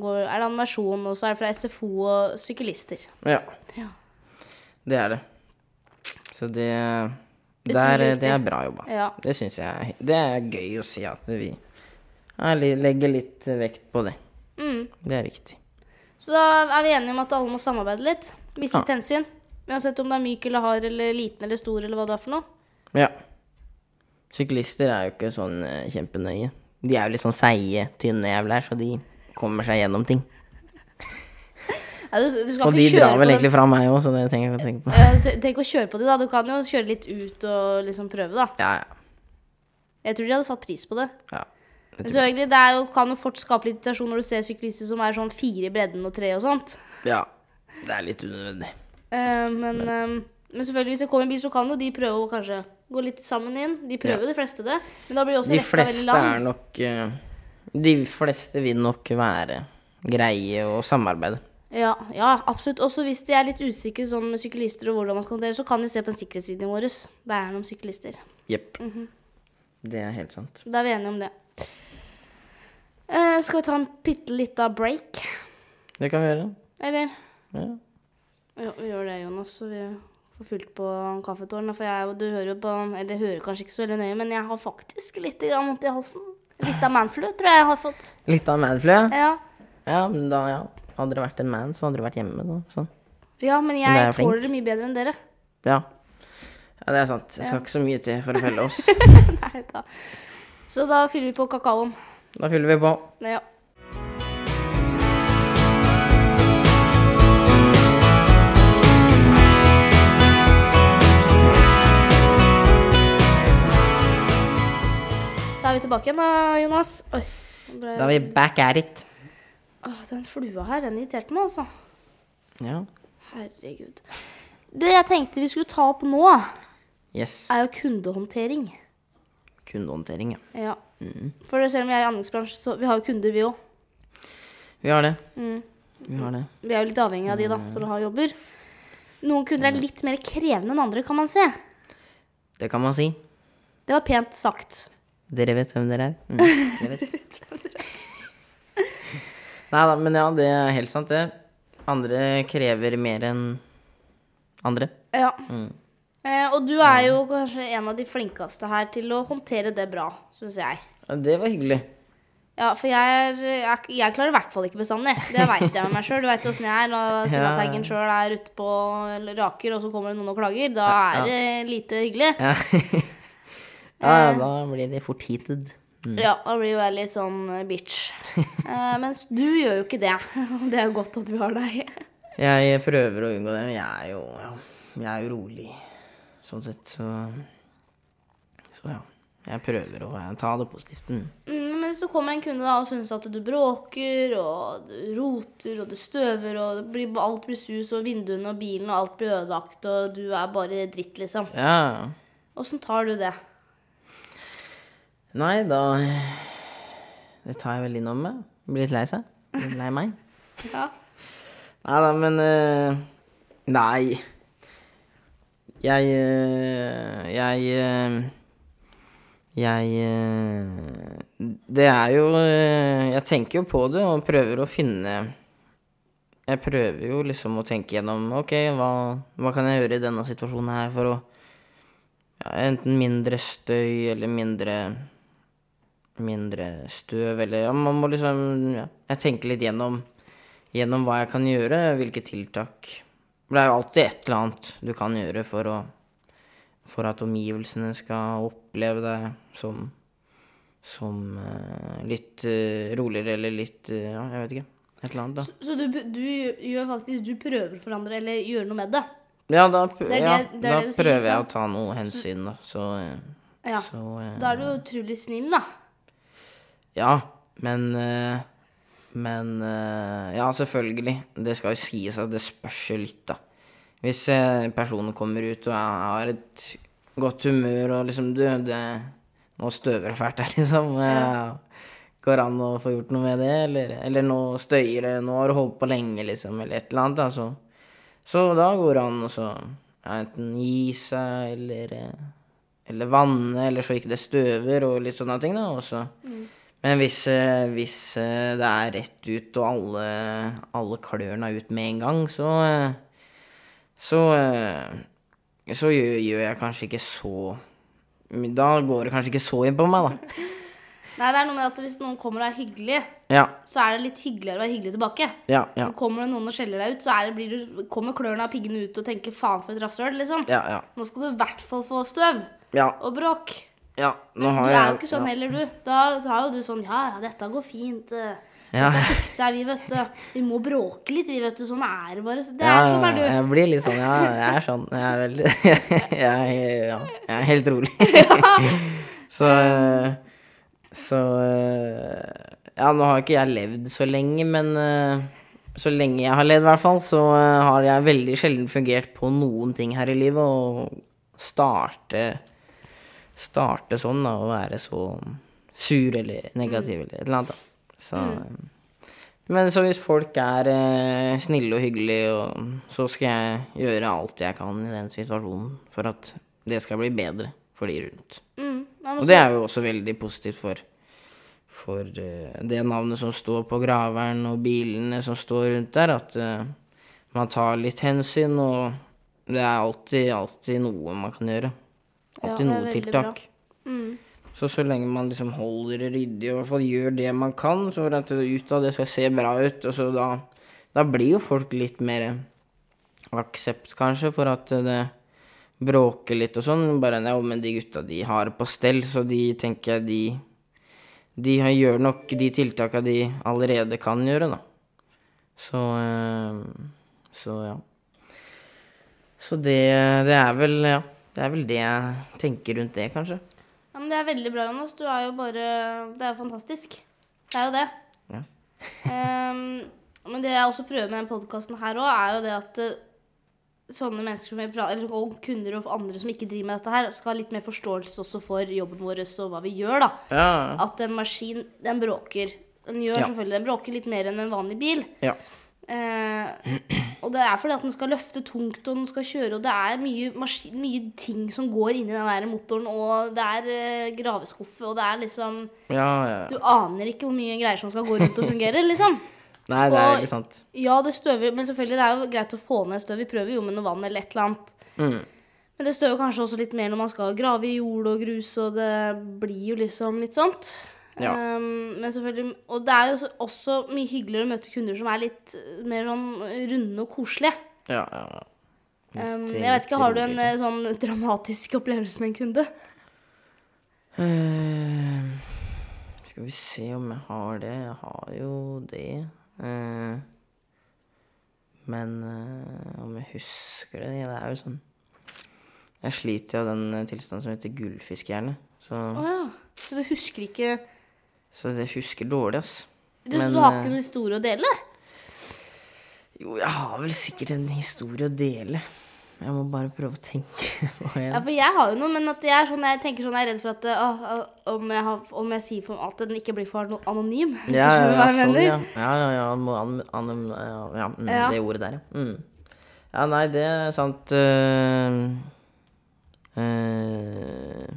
Speaker 1: går, er det animasjon, og så er det fra SFO og syklister.
Speaker 2: Ja,
Speaker 1: Ja.
Speaker 2: det er det. Så det
Speaker 1: Utrolig
Speaker 2: der, eh, Det er
Speaker 1: viktig.
Speaker 2: bra jobba.
Speaker 1: ja.
Speaker 2: Det syns jeg Det er gøy å si at vi er li- legger litt eh, vekt på det.
Speaker 1: Mm.
Speaker 2: Det er viktig.
Speaker 1: Så da er vi enige om at alle må samarbeide litt. Vise litt hensyn. Uansett om du er myk eller hard eller liten eller stor eller hva det er for noe.
Speaker 2: Ja. Syklister er jo ikke sånn eh, kjempenøye. De er jo litt sånn seige, tynne jævler, så de kommer seg gjennom ting.
Speaker 1: Ja, du, du skal
Speaker 2: Og de
Speaker 1: ikke kjøre
Speaker 2: drar vel
Speaker 1: på dem.
Speaker 2: egentlig fra meg òg, så det tenker jeg å tenke på.
Speaker 1: Ja, te- Tenk å kjøre på de, da. Du kan jo kjøre litt ut og liksom prøve, da.
Speaker 2: Ja, ja.
Speaker 1: Jeg tror de hadde satt pris på det.
Speaker 2: ja.
Speaker 1: Men selvfølgelig, det er jo, kan jo fort skape litt irritasjon når du ser syklister som er sånn fire i bredden og tre og sånt.
Speaker 2: Ja. Det er litt unødvendig.
Speaker 1: Eh, men, eh, men selvfølgelig, hvis det kommer en bil, så kan jo de prøve å kanskje gå litt sammen inn. De prøver jo de fleste det, men da blir jo også
Speaker 2: De
Speaker 1: rekka veldig
Speaker 2: fleste
Speaker 1: lang.
Speaker 2: er nok eh, De fleste vil nok være greie og samarbeide.
Speaker 1: Ja, ja, absolutt. Også hvis de er litt usikre sånn med syklister og hvordan man skal håndtere, så kan de se på en sikkerhetsvideo vår. Det er noen syklister.
Speaker 2: Jepp.
Speaker 1: Mhm.
Speaker 2: Det er helt sant.
Speaker 1: Da er vi enige om det. Eh, skal vi ta en bitte lita break,
Speaker 2: Det kan vi gjøre.
Speaker 1: eller?
Speaker 2: Ja.
Speaker 1: Ja, vi gjør det, Jonas, så vi får fulgt på kaffetårnet. For jeg, og du hører jo på Eller hører kanskje ikke så veldig nøye, men jeg har faktisk litt grann vondt i halsen. Litt av manflu, tror jeg jeg har fått.
Speaker 2: Litt av manflu, ja.
Speaker 1: Ja,
Speaker 2: Ja, men da, ja. Hadde det vært en man, så hadde det vært hjemme. Da. Sånn.
Speaker 1: ja men
Speaker 2: Men det
Speaker 1: jeg
Speaker 2: er flink.
Speaker 1: tåler det mye bedre enn dere. [laughs]
Speaker 2: Ja. ja, det er sant. Det skal ikke så mye til for å felle oss. [laughs]
Speaker 1: Nei da. Så da fyller vi på kakaoen.
Speaker 2: Da fyller vi på.
Speaker 1: Ja. Da er vi tilbake igjen da, Jonas. Oi. nå Ble...
Speaker 2: Da er vi back at it.
Speaker 1: Åh, den flua her, den irriterte meg altså.
Speaker 2: Ja.
Speaker 1: Herregud. Det jeg tenkte vi skulle ta opp nå,
Speaker 2: Yes.
Speaker 1: er jo kundehåndtering.
Speaker 2: Kundehåndtering, ja. Mm.
Speaker 1: Ja. For selv om vi er i anleggsbransjen, så vi har jo kunder, vi òg.
Speaker 2: Vi har det.
Speaker 1: Mm.
Speaker 2: Vi har det.
Speaker 1: Vi er jo litt avhengig av de da, for å ha jobber. Noen kunder er litt mer krevende enn andre, kan man se.
Speaker 2: Det kan man si.
Speaker 1: Det var pent sagt.
Speaker 2: Dere vet hvem dere er. Mm, dere [laughs] vet. Nei da, men ja, det er helt sant, det. Andre krever mer enn andre.
Speaker 1: Ja.
Speaker 2: Mm.
Speaker 1: Eh, og du er jo kanskje en av de flinkeste her til å håndtere det bra, syns jeg.
Speaker 2: Ja, det var hyggelig.
Speaker 1: Ja, for jeg, er, jeg, jeg klarer i hvert fall ikke bestandig. Det veit jeg med meg sjøl. Du veit åssen jeg er når Sinnataggen sjøl er ute på eller raker, og så kommer det noen og klager. Da er det lite hyggelig.
Speaker 2: Ja, [laughs] ja, ja da blir de fort heated.
Speaker 1: Ja, da blir jo jeg litt sånn eh, bitch. Eh, mens du gjør jo ikke det. [laughs] Det er jo godt at vi har deg. [laughs]
Speaker 2: Jeg prøver å unngå det, men jeg er jo, ja, jeg er jo rolig sånn sett, så Så ja. Jeg prøver å eh, ta det positivt. Mm.
Speaker 1: Mm, Men så kommer en kunde da og syns at du bråker og du roter og du støver og det blir, alt blir sus og vinduene og bilen og alt blir ødelagt og du er bare dritt, liksom.
Speaker 2: Ja.
Speaker 1: Åssen tar du det?
Speaker 2: Nei, da Det tar jeg vel innom meg. Blir litt lei seg. Litt lei meg.
Speaker 1: Ja.
Speaker 2: Nei da, men eh, Nei. Jeg eh, Jeg eh, Jeg eh, Det er jo eh, Jeg tenker jo på det og prøver å finne Jeg prøver jo liksom å tenke gjennom Ok, hva, hva kan jeg gjøre i denne situasjonen her for å ja, Enten mindre støy eller mindre mindre støv, eller ja, man må liksom ja, Jeg tenker litt gjennom, gjennom hva jeg kan gjøre, hvilke tiltak. For Det er jo alltid et eller annet du kan gjøre for, å, for at omgivelsene skal oppleve deg som, som eh, litt eh, roligere, eller litt eh, Ja, jeg vet ikke. Et eller annet, da.
Speaker 1: Så du, du gjør faktisk Du prøver å forandre eller gjøre noe med det.
Speaker 2: Ja, da, pr-
Speaker 1: det er
Speaker 2: ja,
Speaker 1: det- det er
Speaker 2: da
Speaker 1: det du sier,
Speaker 2: prøver jeg
Speaker 1: sant?
Speaker 2: å ta noe hensyn, da. Så, eh,
Speaker 1: Ja.
Speaker 2: så eh,
Speaker 1: Da er du jo utrolig snill, da.
Speaker 2: Ja, men eh, Men eh, Ja, selvfølgelig. Det skal jo sies at det spørs jo litt, da. Hvis eh, personen kommer ut og er- har et godt humør og liksom Du, det, nå støver det fælt her, [laughs] liksom. eh, Går an å få gjort noe med det? Eller, eller nå støyer det, nå har du holdt på lenge, liksom, eller et eller annet. Da, så, så da går det an å så ja, enten gi seg, eller eh, eller vanne, eller så ikke det støver, og litt sånne ting, da. Også.
Speaker 1: Mm.
Speaker 2: Men hvis, eh, hvis eh, det er rett ut, og alle, alle klørne er ut med en gang, så eh, Så, eh, så
Speaker 1: [laughs]
Speaker 2: gjør, gjør jeg kanskje ikke så Da går det kanskje ikke så inn på meg, da.
Speaker 1: Nei, det er noe med at hvis noen kommer og er hyggelig,
Speaker 2: Ja,
Speaker 1: så er det litt hyggeligere å være hyggelig tilbake.
Speaker 2: ja, ja.
Speaker 1: Men Kommer det noen og skjeller deg ut, så er det, blir du, kommer klørne av piggene ut og tenker faen for et rasshøl, liksom.
Speaker 2: Ja, ja.
Speaker 1: Nå skal du i hvert fall få støv
Speaker 2: Ja,
Speaker 1: og bråk.
Speaker 2: ja. Nå
Speaker 1: Du
Speaker 2: har
Speaker 1: er
Speaker 2: jeg
Speaker 1: jo ikke sånn heller, du. Da har jo du sånn Ja, ja, dette går fint. eh.
Speaker 2: Ja.
Speaker 1: Dette fikser vi, vet du. Vi må bråke litt, vi, vet du. Sånn er det bare. Så det
Speaker 2: Ja,
Speaker 1: er sånn
Speaker 2: ja,
Speaker 1: er
Speaker 2: ja,
Speaker 1: du.
Speaker 2: jeg blir litt sånn, ja, jeg er sånn. Jeg er veldig [laughs] jeg, er- ja, jeg er helt
Speaker 1: [laughs]
Speaker 2: rolig. så Så eh, Ja, nå har ikke jeg levd så lenge, men eh, så lenge jeg har levd, i hvert fall, så eh, har jeg veldig sjelden fungert på noen ting her i livet. Å starte Starte sånn, da, og være så sur eller negativ eller et eller annet. Da. Så eh, men så hvis folk er eh, snille og hyggelige, og, så skal jeg gjøre alt jeg kan i den situasjonen for at det skal bli bedre for de rundt.
Speaker 1: [laughs] Mm. Ja,
Speaker 2: Og
Speaker 1: men
Speaker 2: det er jo også veldig positivt for, for eh, det navnet som står på graveren og bilene som står rundt der, at eh, man tar litt hensyn, og det er alltid, alltid noe man kan gjøre.
Speaker 1: Ja,
Speaker 2: Alltid
Speaker 1: det er
Speaker 2: noe
Speaker 1: veldig bra.
Speaker 2: tiltak.
Speaker 1: mm.
Speaker 2: Så så lenge man liksom holder det ryddig og i hvert fall gjør det man kan, så at det ut av det skal se bra ut, og så da, da blir jo folk litt mer aksept kanskje for at det bråker litt og sånn. Bare nei, men de gutta de har det på stell, så de tenker jeg de De har- gjør nok de tiltaka de allerede kan gjøre, da. Så eh, Så ja. Så det, det er vel Ja. Det er vel det jeg tenker rundt det, kanskje.
Speaker 1: Ja, men det er veldig bra, Jonas. Du er jo bare Det er jo fantastisk. Det er jo det.
Speaker 2: Ja.
Speaker 1: Ehm, men det jeg også prøver med den podkasten her òg, er jo det at eh, sånne mennesker som vi prater, eller og kunder og andre som ikke driver med dette her, skal ha litt mer forståelse også for jobben vår og hva vi gjør, da.
Speaker 2: Ja,
Speaker 1: At en maskin, den bråker. Den gjør
Speaker 2: Ja.
Speaker 1: selvfølgelig, den bråker litt mer enn en vanlig bil.
Speaker 2: ja.
Speaker 1: Eh, og det er fordi at den skal løfte tungt, og den skal kjøre, og det er mye, maskin, mye ting som går inni den der motoren, og det er eh, graveskuffe, og det er liksom
Speaker 2: Ja, ja.
Speaker 1: Du aner ikke hvor mye greier som skal gå rundt og fungere, liksom.
Speaker 2: Nei, det er
Speaker 1: Og-
Speaker 2: ikke sant.
Speaker 1: Ja, det støver, men selvfølgelig det er jo greit å få ned støv. Vi prøver jo med noe vann eller et eller annet.
Speaker 2: Mm.
Speaker 1: Men det støver kanskje også litt mer når man skal grave i jord og grus, og det blir jo liksom litt sånt.
Speaker 2: Ja.
Speaker 1: Ehm, men selvfølgelig, og det er jo også, også mye hyggeligere å møte kunder som er litt eh, mer sånn runde og koselige.
Speaker 2: Ja, ja, ja.
Speaker 1: Ehm,
Speaker 2: Riktig,
Speaker 1: jeg vet ikke,
Speaker 2: riktig
Speaker 1: Har du en
Speaker 2: rolig.
Speaker 1: eh, sånn dramatisk opplevelse med en kunde?
Speaker 2: Eh, Skal vi se om jeg har det. Jeg har jo det. Eh, men eh, om jeg husker det ja, Det er jo sånn Jeg sliter jo av den eh, tilstanden som heter gullfiskhjerne. Så,
Speaker 1: Å ja. Så du husker ikke
Speaker 2: så det husker dårlig, ass.
Speaker 1: Du,
Speaker 2: Men,
Speaker 1: så du har
Speaker 2: eh,
Speaker 1: ikke noen historie å dele?
Speaker 2: Jo, jeg har vel sikkert en historie å dele. Jeg må bare prøve å tenke [laughs] på en.
Speaker 1: Ja, for jeg har jo noe, men at jeg, er sånn, jeg tenker sånn, jeg er redd for at åh, åh, om, jeg har, om jeg sier for alt, at den ikke blir for no- anonym. [laughs] hvis du
Speaker 2: Ja, ja,
Speaker 1: skjønner
Speaker 2: ja,
Speaker 1: hva jeg
Speaker 2: sånn,
Speaker 1: mener.
Speaker 2: ja. Ja, ja, ja, han må- han- han- ja, ja, mm,
Speaker 1: Ja.
Speaker 2: det ordet der, ja. Mm. Ja, nei, det er sant. eh, eh,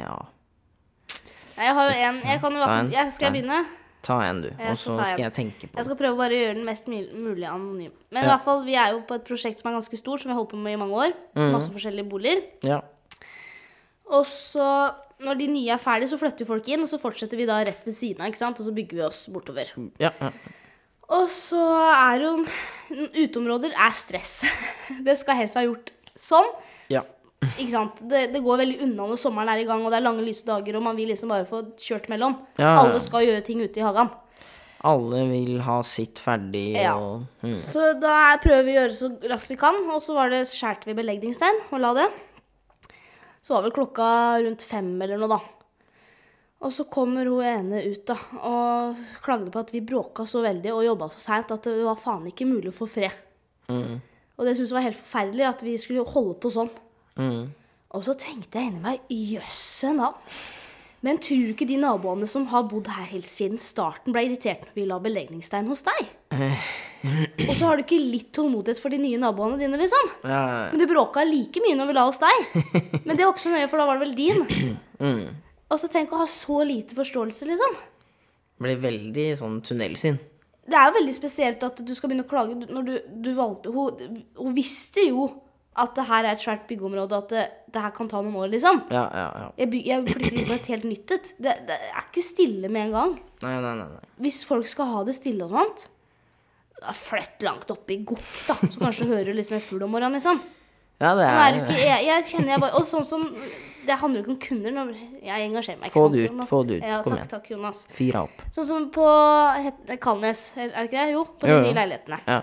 Speaker 2: ja.
Speaker 1: Nei, Jeg har jo en, jeg kan jo i hvert
Speaker 2: Ta
Speaker 1: fall-
Speaker 2: en,
Speaker 1: jeg, Skal jeg
Speaker 2: ta en.
Speaker 1: begynne?
Speaker 2: Ta en, du.
Speaker 1: skal
Speaker 2: Og så
Speaker 1: ta en.
Speaker 2: skal jeg tenke på
Speaker 1: Jeg
Speaker 2: det.
Speaker 1: skal prøve bare å gjøre den mest mil- mulig anonym. Men i
Speaker 2: Ja.
Speaker 1: hvert fall, vi er jo på et prosjekt som er ganske stort, som vi har holdt på med i mange år.
Speaker 2: Mm.
Speaker 1: Masse forskjellige boliger.
Speaker 2: Ja.
Speaker 1: Og så, når de nye er ferdige, så flytter jo folk inn, og så fortsetter vi da rett ved siden av, ikke sant? Og så bygger vi oss bortover.
Speaker 2: Ja, ja.
Speaker 1: Og så er jo Uteområder er stress. [laughs] Det skal helst være gjort sånn.
Speaker 2: ja.
Speaker 1: Ikke sant? Det, det går veldig unna når sommeren er i gang, og det er lange, lyse dager, og man vil liksom bare få kjørt mellom.
Speaker 2: Ja, ja.
Speaker 1: Alle skal gjøre ting ute i hagen.
Speaker 2: Alle vil ha sitt ferdig
Speaker 1: Ja.
Speaker 2: og mm.
Speaker 1: Så da er- prøver vi å gjøre så raskt vi kan, og så var det, skjærte vi belegningsstein og la det. Så var vel klokka rundt fem eller noe, da. Og så kommer hun ene ut da, og klagde på at vi bråka så veldig og jobba så seint at det var faen ikke mulig å få fred.
Speaker 2: Mm.
Speaker 1: Og det syntes hun var helt forferdelig at vi skulle holde på sånn.
Speaker 2: Mm.
Speaker 1: Og så tenkte jeg inni meg jøsse navn. Men tror du ikke de naboene som har bodd her helt siden starten, ble irritert når vi la belegningsstein hos deg? Og så har du ikke litt tålmodighet for de nye naboene dine, liksom?
Speaker 2: ja, ja, ja.
Speaker 1: Men du bråka like mye når vi la hos deg. Men det var ikke så nøye, for da var det vel din.
Speaker 2: Mm.
Speaker 1: Og så tenk å ha så lite forståelse, liksom.
Speaker 2: Blir veldig sånn tunnelsyn.
Speaker 1: Det er jo veldig spesielt at du skal begynne å klage du- når du, du valgte hun, hun visste jo at det her er et svært byggeområde, at det, det her kan ta noen år, liksom.
Speaker 2: Ja, ja, ja.
Speaker 1: Jeg, byg, jeg flytter inn på et helt nytt et. Det, det er ikke stille med en gang.
Speaker 2: Nei, nei, nei. nei.
Speaker 1: Hvis folk skal ha det stille og sånt, da flytt langt oppe i gokk, da. Så kanskje du hører liksom en fugl om morgenen, liksom.
Speaker 2: Ja, det
Speaker 1: Nå er det
Speaker 2: er
Speaker 1: ikke,
Speaker 2: [laughs]
Speaker 1: jeg, jeg kjenner jeg bare Og sånn som Det handler jo ikke om kunder. Når jeg engasjerer meg. ikke
Speaker 2: Få det
Speaker 1: sant,
Speaker 2: ut,
Speaker 1: Jonas?
Speaker 2: få det ut.
Speaker 1: Ja,
Speaker 2: Kom
Speaker 1: takk,
Speaker 2: igjen.
Speaker 1: takk, Jonas.
Speaker 2: Fira opp.
Speaker 1: Sånn som på het- Kalnes, er det ikke det? Jo, på de
Speaker 2: Jo, jo.
Speaker 1: nye leilighetene.
Speaker 2: Ja.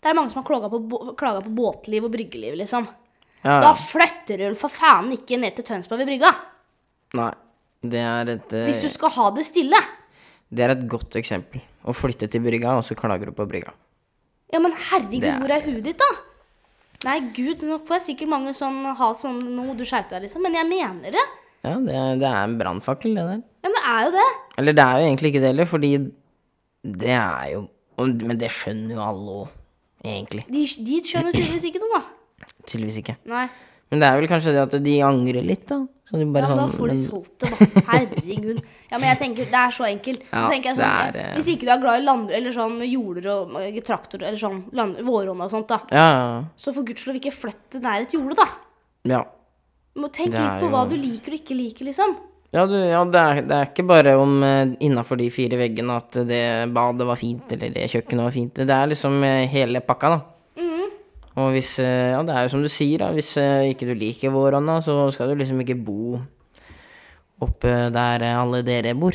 Speaker 1: Det er mange som har klaga på, bå- klaga på båtliv og bryggeliv, liksom.
Speaker 2: ja,
Speaker 1: Da
Speaker 2: ja.
Speaker 1: flytter hun for faen ikke ned til Tønsberg ved brygga!
Speaker 2: Nei. Det er et eh,
Speaker 1: Hvis du skal ha det stille!
Speaker 2: Det er et godt eksempel. Å flytte til brygga, og så klager du på brygga.
Speaker 1: Ja, men herregud,
Speaker 2: Det er-
Speaker 1: hvor er huet ditt, da? Nei, gud, nå får jeg sikkert mange sånn ha sånn Nå må du skjerpe deg, liksom. Men jeg mener det.
Speaker 2: Ja, det er, det er en brannfakkel, det der.
Speaker 1: Ja, men det er jo det.
Speaker 2: Eller det er jo egentlig ikke det heller, fordi det er jo og- Men det skjønner jo alle òg, egentlig.
Speaker 1: De, de skjønner tydeligvis ikke det, da.
Speaker 2: Tydeligvis ikke.
Speaker 1: Nei.
Speaker 2: Men det er vel kanskje det at de angrer litt, da. Så de bare
Speaker 1: Ja, da
Speaker 2: sånn
Speaker 1: får de
Speaker 2: men-
Speaker 1: solgt det, da. Herregud. Ja, men jeg tenker, det er så enkelt. Så
Speaker 2: Ja,
Speaker 1: tenker jeg
Speaker 2: det
Speaker 1: sånn,
Speaker 2: er, eh,
Speaker 1: Hvis ikke du er glad i land, eller sånn jorder og eh, traktor, eller sånn land, våronna og sånt, da,
Speaker 2: Ja, ja,
Speaker 1: så for guds lov ikke flytt det nær et jorde, da.
Speaker 2: ja.
Speaker 1: Du må tenke
Speaker 2: Det er
Speaker 1: litt på hva
Speaker 2: jo-
Speaker 1: du liker og ikke liker, liksom.
Speaker 2: Ja, du, ja det, er, det er ikke bare om eh, innafor de fire veggene at det badet var fint, eller det kjøkkenet var fint. Det er liksom eh, hele pakka, da. Mhm. Og hvis eh, Ja, det er jo som du sier, da. Hvis eh, ikke du liker våronna, så skal du liksom ikke bo oppe der eh, alle dere bor.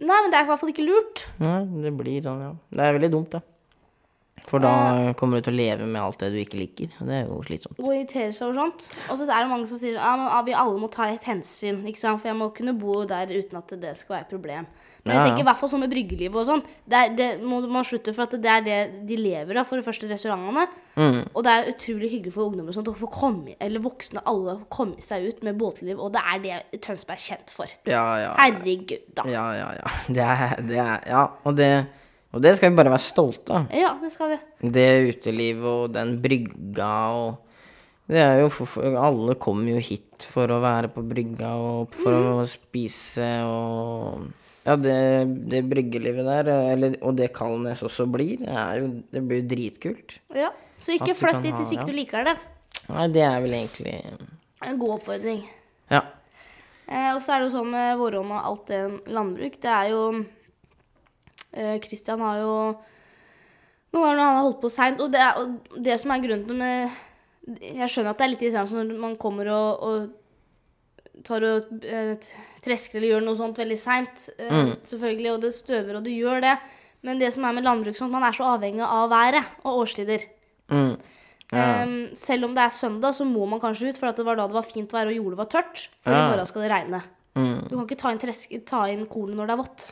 Speaker 1: Nei, men det er i hvert fall ikke lurt.
Speaker 2: Nei, det blir sånn, ja. Det er veldig dumt, da. For da kommer du til å leve med alt det du ikke liker, og det er jo slitsomt.
Speaker 1: Å irritere seg over sånt. Og så er det mange som sier ja, men, ah, vi alle må ta et hensyn, ikke sant? for jeg må kunne bo der uten at det skal være et problem. Men
Speaker 2: Ja,
Speaker 1: jeg
Speaker 2: ja.
Speaker 1: tenker i hvert fall sånn med bryggelivet og sånn. Det, er- det må man slutte for at det er det de lever av, for det første restaurantene.
Speaker 2: Mm.
Speaker 1: Og det er utrolig hyggelig for ungdommer og sånt, å få komme, eller voksne alle å komme seg ut med båtliv, og det er det Tønsberg er kjent for.
Speaker 2: Ja, ja.
Speaker 1: Herregud, da.
Speaker 2: Ja, ja, ja. Det er, det er Ja, og det, og det skal vi bare være stolte av.
Speaker 1: Ja, det skal vi.
Speaker 2: Det utelivet og den brygga og Det er jo for, for Alle kommer jo hit for å være på brygga og for
Speaker 1: Mm.
Speaker 2: å spise og Ja, det, det bryggelivet der, eller, og det Kalnes også blir, er jo, det blir jo dritkult.
Speaker 1: Ja. Så ikke
Speaker 2: At du
Speaker 1: flytt
Speaker 2: kan
Speaker 1: dit
Speaker 2: ha-
Speaker 1: hvis ikke
Speaker 2: ja.
Speaker 1: du liker det.
Speaker 2: Nei, det er vel egentlig
Speaker 1: En god oppfordring.
Speaker 2: Ja.
Speaker 1: Eh, og så er det jo sånn med våronna og alt det landbruk. Det er jo eh, Christian har jo Noen ganger når han har holdt på seint og, det er- og det som er grunnen til med Jeg skjønner at det er litt irriterende sånn når man kommer og, og tar og eh, tresker eller gjør noe sånt veldig seint, eh, selvfølgelig, og det støver, og det gjør det. Men det som er med landbruk, sånn at man er så avhengig av været og årstider.
Speaker 2: Mm.
Speaker 1: Ehm, selv om det er søndag, så må man kanskje ut, for at det var da det var fint vær og jordet var tørt. For i
Speaker 2: Ja.
Speaker 1: morgen skal det regne.
Speaker 2: Mm.
Speaker 1: Du kan ikke ta inn, tresk, ta inn kornet når det er vått.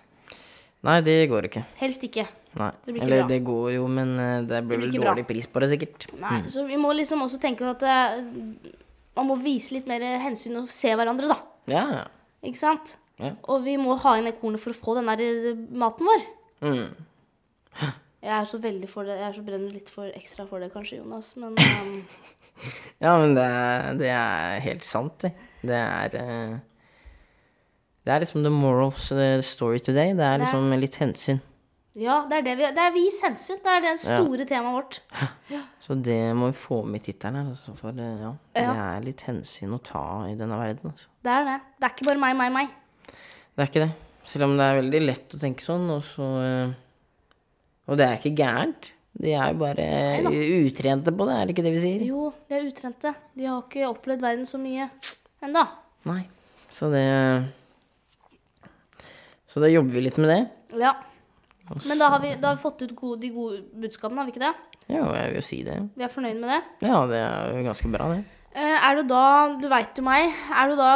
Speaker 2: Nei, det går ikke.
Speaker 1: Helst ikke.
Speaker 2: Nei.
Speaker 1: blir ikke
Speaker 2: Eller
Speaker 1: bra.
Speaker 2: det går jo, men eh, det blir
Speaker 1: blir
Speaker 2: vel
Speaker 1: ikke bra.
Speaker 2: dårlig pris på det, sikkert.
Speaker 1: Nei, Så vi må liksom også tenke at eh, man må vise litt mer hensyn og se hverandre, da.
Speaker 2: Ja, ja.
Speaker 1: Ikke sant?
Speaker 2: Ja.
Speaker 1: Og vi må ha inn det kornet for å få den der eh, maten vår.
Speaker 2: Mm.
Speaker 1: Jeg er så veldig for det. Jeg er så brenner litt for ekstra for det, kanskje, Jonas, men ehm, [laughs]
Speaker 2: Ja, men det er, det er helt sant, det. Det er eh, Det er liksom the moral of the story today. Det er liksom litt hensyn.
Speaker 1: Ja, det er det vi Det er vis hensyn. Det er det store temaet vårt.
Speaker 2: Så det må vi få med i tittelen her, altså. For eh, ja, det er litt hensyn å ta i denne verden, altså.
Speaker 1: Det er det. Det er ikke bare meg, meg, meg.
Speaker 2: Det er ikke det. Selv om det er veldig lett å tenke sånn, og så eh, Og det er ikke gærent. De er jo bare eh, utrente på det, er det ikke det vi sier?
Speaker 1: Jo, de er utrente. De har ikke opplevd verden så mye enda.
Speaker 2: Nei. Så det Så da jobber vi litt med det.
Speaker 1: Ja. Men da har vi, da har vi fått ut gode, de gode budskapene, har vi ikke det?
Speaker 2: Ja, jeg vil jo si det.
Speaker 1: Vi er fornøyd med det.
Speaker 2: Ja, det er jo ganske bra, det.
Speaker 1: Eh, Er du da Du veit jo meg. Er du da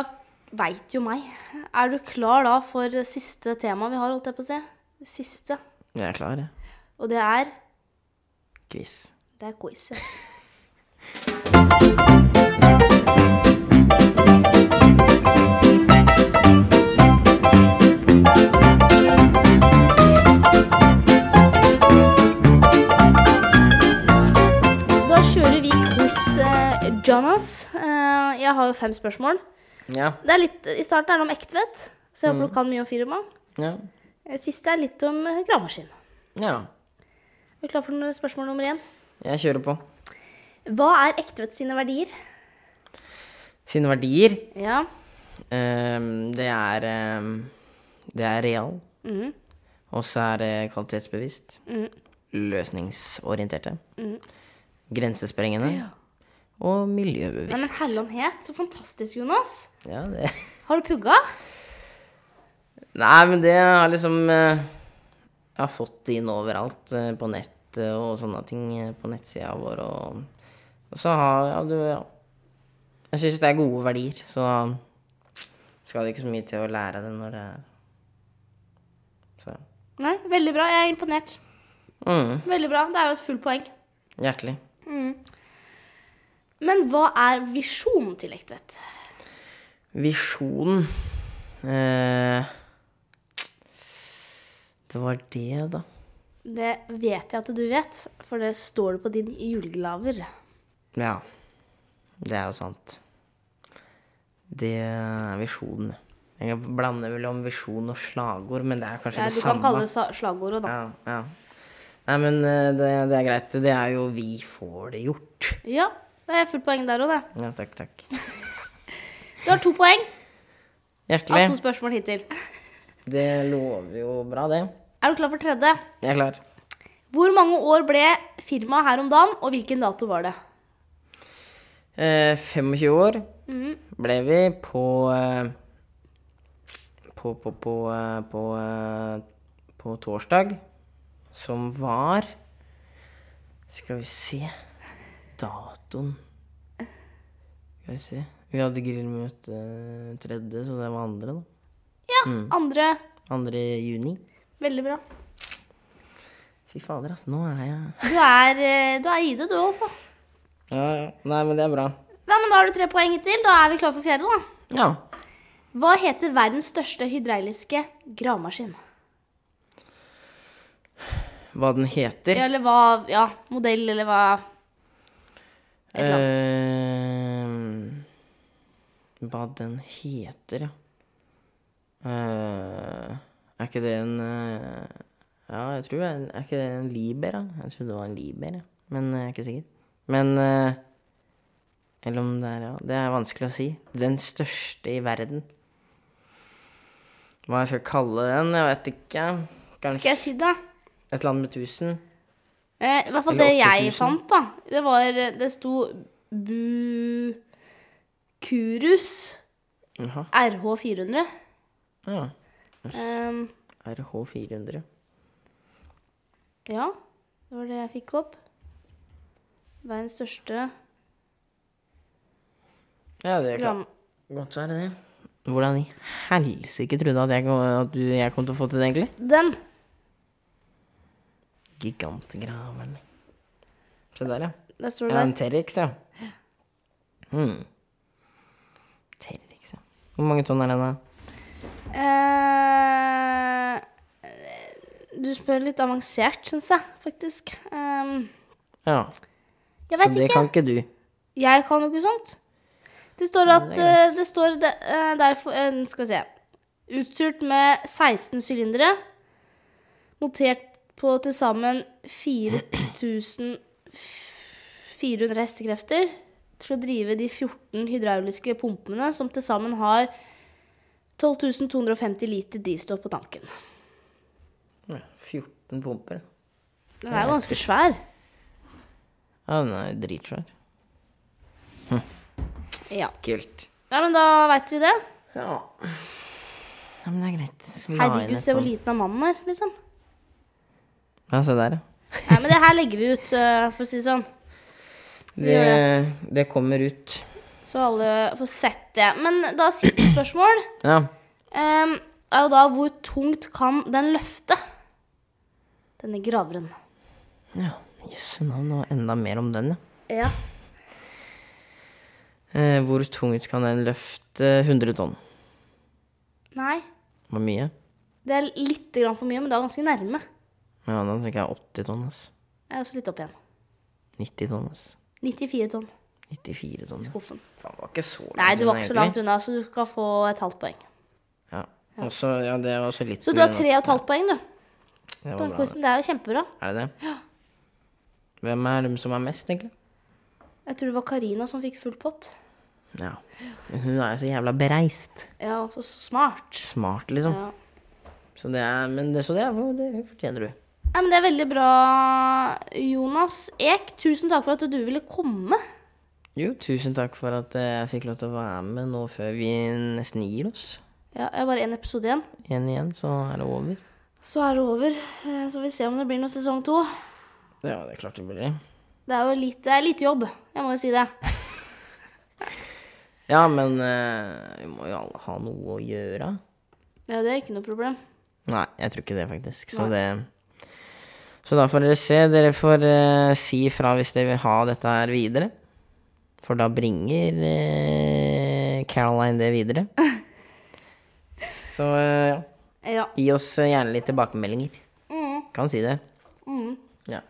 Speaker 1: Veit jo meg. Er du klar da for siste tema vi har, holdt jeg på å si? Det Siste.
Speaker 2: Jeg er klar, jeg.
Speaker 1: Og det er
Speaker 2: Quiz.
Speaker 1: Det er quiz. ja. Da kjører vi quiz, eh, Jonas. Eh, jeg har jo fem spørsmål.
Speaker 2: Ja.
Speaker 1: Det er litt, I starten er det om ektevett, så jeg håper du kan mye om firma.
Speaker 2: Ja.
Speaker 1: Eh, Siste er litt om eh, gravemaskin.
Speaker 2: ja.
Speaker 1: Er du klar for noe spørsmål nummer én?
Speaker 2: Jeg kjører på.
Speaker 1: Hva er Ektvedt sine verdier?
Speaker 2: Sine verdier
Speaker 1: Ja.
Speaker 2: ehm, Det er ehm, Det er real.
Speaker 1: Mm.
Speaker 2: Og så er det kvalitetsbevisst. Løsningsorienterte. Grensesprengende.
Speaker 1: Nei,
Speaker 2: Og
Speaker 1: men
Speaker 2: miljøbevisst.
Speaker 1: hellomhet, så fantastisk, Jonas.
Speaker 2: Ja, det.
Speaker 1: Har du pugga?
Speaker 2: Nei, men det har liksom eh, Jeg har fått det inn overalt. eh, På nettet og sånne ting. eh, På nettsida vår og Og så har Ja, du ja. Jeg syns det er gode verdier, så skal det ikke så mye til å lære det når det er Så
Speaker 1: Nei, veldig bra. Jeg er imponert.
Speaker 2: mm,
Speaker 1: Veldig bra. Det er jo et fullt poeng.
Speaker 2: Hjertelig.
Speaker 1: Men hva er visjonen til Ektvedt?
Speaker 2: Visjonen eh, Det var det, da.
Speaker 1: Det vet jeg at du vet, for det står det på din julegaver.
Speaker 2: Ja. Det er jo sant. Det er visjonen. Jeg blander vel om visjon og slagord, men det er kanskje
Speaker 1: Ja,
Speaker 2: det
Speaker 1: du
Speaker 2: samme.
Speaker 1: kan kalle det sa- slagordet, da.
Speaker 2: ja, ja. Nei, men eh, det, det er greit. Det er jo 'vi får det gjort'.
Speaker 1: Ja, det er fullt poeng der òg, det.
Speaker 2: Ja, takk, takk.
Speaker 1: Du har to poeng av to
Speaker 2: Hjertelig.
Speaker 1: spørsmål hittil.
Speaker 2: Det lover jo bra, det.
Speaker 1: Er du klar for tredje?
Speaker 2: Jeg er klar.
Speaker 1: Hvor mange år ble firmaet her om dagen, og hvilken dato var det?
Speaker 2: Eh, 25 år
Speaker 1: Mm.
Speaker 2: ble vi på eh, på, på, på, eh, på, eh, på torsdag, som var Skal vi se Datoen Skal vi se Vi hadde grillmøte tredje, så det var andre, da.
Speaker 1: Ja,
Speaker 2: Mm.
Speaker 1: andre.
Speaker 2: 2. juni.
Speaker 1: Veldig bra.
Speaker 2: Fy fader, altså. Nå er jeg
Speaker 1: Du er, eh, du er ID, du også.
Speaker 2: ja, ja. Nei, men det er bra.
Speaker 1: Ja, men da har du tre poeng hittil. Da er vi klare for fjerde, da.
Speaker 2: Ja.
Speaker 1: Hva heter verdens største hydrauliske gravemaskin?
Speaker 2: Hva den heter?
Speaker 1: Ja, eller hva Ja, modell, eller hva et eller annet.
Speaker 2: Ehm, hva den heter, ja. Eh, er ikke det en eh, Ja, jeg tror det er, en- er ikke det en Liber, da? Jeg trodde det var en Liber, ja. men eh, jeg er ikke sikker. Men eh, Eller om det er ja. Det er vanskelig å si. Den største i verden. Hva jeg skal kalle den? Jeg vet ikke.
Speaker 1: Skal
Speaker 2: Kanskje
Speaker 1: jeg si det?
Speaker 2: et eller annet med 1000?
Speaker 1: Eh, I hvert fall det
Speaker 2: Eller
Speaker 1: jeg
Speaker 2: 8000.
Speaker 1: fant, da. Det var Det sto Bukurus
Speaker 2: Jaha.
Speaker 1: RH400.
Speaker 2: Ja.
Speaker 1: Ehm,
Speaker 2: RH400.
Speaker 1: ja, det var det jeg fikk opp. Verdens største
Speaker 2: Ja, det er klart.
Speaker 1: gram...
Speaker 2: Godt så er det det. Hvordan i helsike trodde at jeg, kom- at du, jeg kom til å få til det, egentlig?
Speaker 1: Den.
Speaker 2: Gigantgraveren. Se der, ja.
Speaker 1: Der står det
Speaker 2: Ja,
Speaker 1: der.
Speaker 2: en T-rex, ja. Hmm. T-rex, ja. Hvor mange tonn er den, da?
Speaker 1: Eh, du spør litt avansert, syns jeg, faktisk. Ehm,
Speaker 2: Ja,
Speaker 1: jeg
Speaker 2: så
Speaker 1: veit
Speaker 2: det
Speaker 1: ikke.
Speaker 2: kan ikke du.
Speaker 1: Jeg kan jo ikke sånt. Det står at
Speaker 2: det er greit.
Speaker 1: eh, det står de, eh, derfor eh, Skal vi se. Utstyrt med 16 sylindere. Notert på til sammen 4400 hestekrefter. Til å drive de 14 hydrauliske pumpene som til sammen har 12.250 liter drivstoff på tanken.
Speaker 2: Ja, 14 pumper.
Speaker 1: Den er jo ganske svær.
Speaker 2: Ja, den er jo dritsvær.
Speaker 1: Ja.
Speaker 2: Kult.
Speaker 1: ja, men da veit vi det.
Speaker 2: Ja. Ja, men det er greit. Skal vi la inn
Speaker 1: Herregud,
Speaker 2: et
Speaker 1: se hvor
Speaker 2: sånt-
Speaker 1: liten av mannen er, liksom.
Speaker 2: Ja, se der, ja.
Speaker 1: Nei, men det her legger vi ut, eh, for å si det sånn.
Speaker 2: Det, det kommer ut.
Speaker 1: Så alle får sett det. Men da siste spørsmål
Speaker 2: Ja.
Speaker 1: um, er jo da hvor tungt kan den løfte? Denne graveren.
Speaker 2: Ja, jøsse navn, og enda mer om den, ja.
Speaker 1: Ja.
Speaker 2: Eh, hvor tungt kan den løfte? 100 tonn.
Speaker 1: Nei.
Speaker 2: Hvor mye?
Speaker 1: Det er litt grann for mye, men det er ganske nærme.
Speaker 2: Ja, da tenker jeg 80 tonn, ass.
Speaker 1: Jeg er også litt opp igjen.
Speaker 2: 90 tonn, ass.
Speaker 1: 94 tonn.
Speaker 2: 94 tonn. ja.
Speaker 1: Skuffen.
Speaker 2: Faen, det var ikke så langt
Speaker 1: Nei, du var
Speaker 2: unna,
Speaker 1: ikke så
Speaker 2: egentlig.
Speaker 1: langt unna, så du skal få et halvt poeng.
Speaker 2: Ja. Også, ja, det var også litt
Speaker 1: Så du har
Speaker 2: unna.
Speaker 1: tre og et halvt poeng, du.
Speaker 2: Det
Speaker 1: På
Speaker 2: var
Speaker 1: den
Speaker 2: bra.
Speaker 1: quizen. Det er jo kjempebra.
Speaker 2: Er det det? Ja. Hvem er dem som er mest, egentlig?
Speaker 1: Eh, Jeg tror det var Karina som fikk full pott.
Speaker 2: Ja. Men hun er jo så jævla bereist.
Speaker 1: Ja, så smart.
Speaker 2: Smart, liksom.
Speaker 1: Ja.
Speaker 2: Så det er, men det, så det, er, det fortjener du.
Speaker 1: Nei, men Det er veldig bra, Jonas Ek. Tusen takk for at du ville komme.
Speaker 2: Jo, tusen takk for at eh, jeg fikk lov til å være med nå før vi nesten gir oss.
Speaker 1: Ja, Jeg har bare én episode igjen,
Speaker 2: Igjen igjen, så er det over.
Speaker 1: så er det over. Eh, Så vi ser om det blir noe sesong to.
Speaker 2: Ja, det er klart det blir.
Speaker 1: Det er jo litt, det er litt jobb, jeg må jo si det.
Speaker 2: Ja, men eh, vi må jo alle ha noe å gjøre.
Speaker 1: Ja, Det er ikke noe problem.
Speaker 2: Nei, jeg tror ikke det, faktisk. Så det Så da får dere se. Dere får eh, si fra hvis dere vil ha dette her videre. For da bringer eh, Caroline det videre. Så eh, ja.
Speaker 1: Ja. Mm,
Speaker 2: Gi oss eh, gjerne litt tilbakemeldinger. Kan si det. Ja.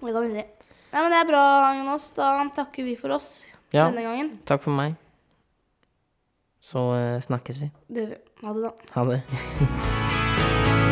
Speaker 1: Det kan vi si. Nei, men Det er bra, Jonas. Da takker vi for oss
Speaker 2: Ja.
Speaker 1: denne gangen.
Speaker 2: Takk for meg. Så eh, snakkes vi.
Speaker 1: Det gjør vi. Ha det, da.
Speaker 2: Ha det.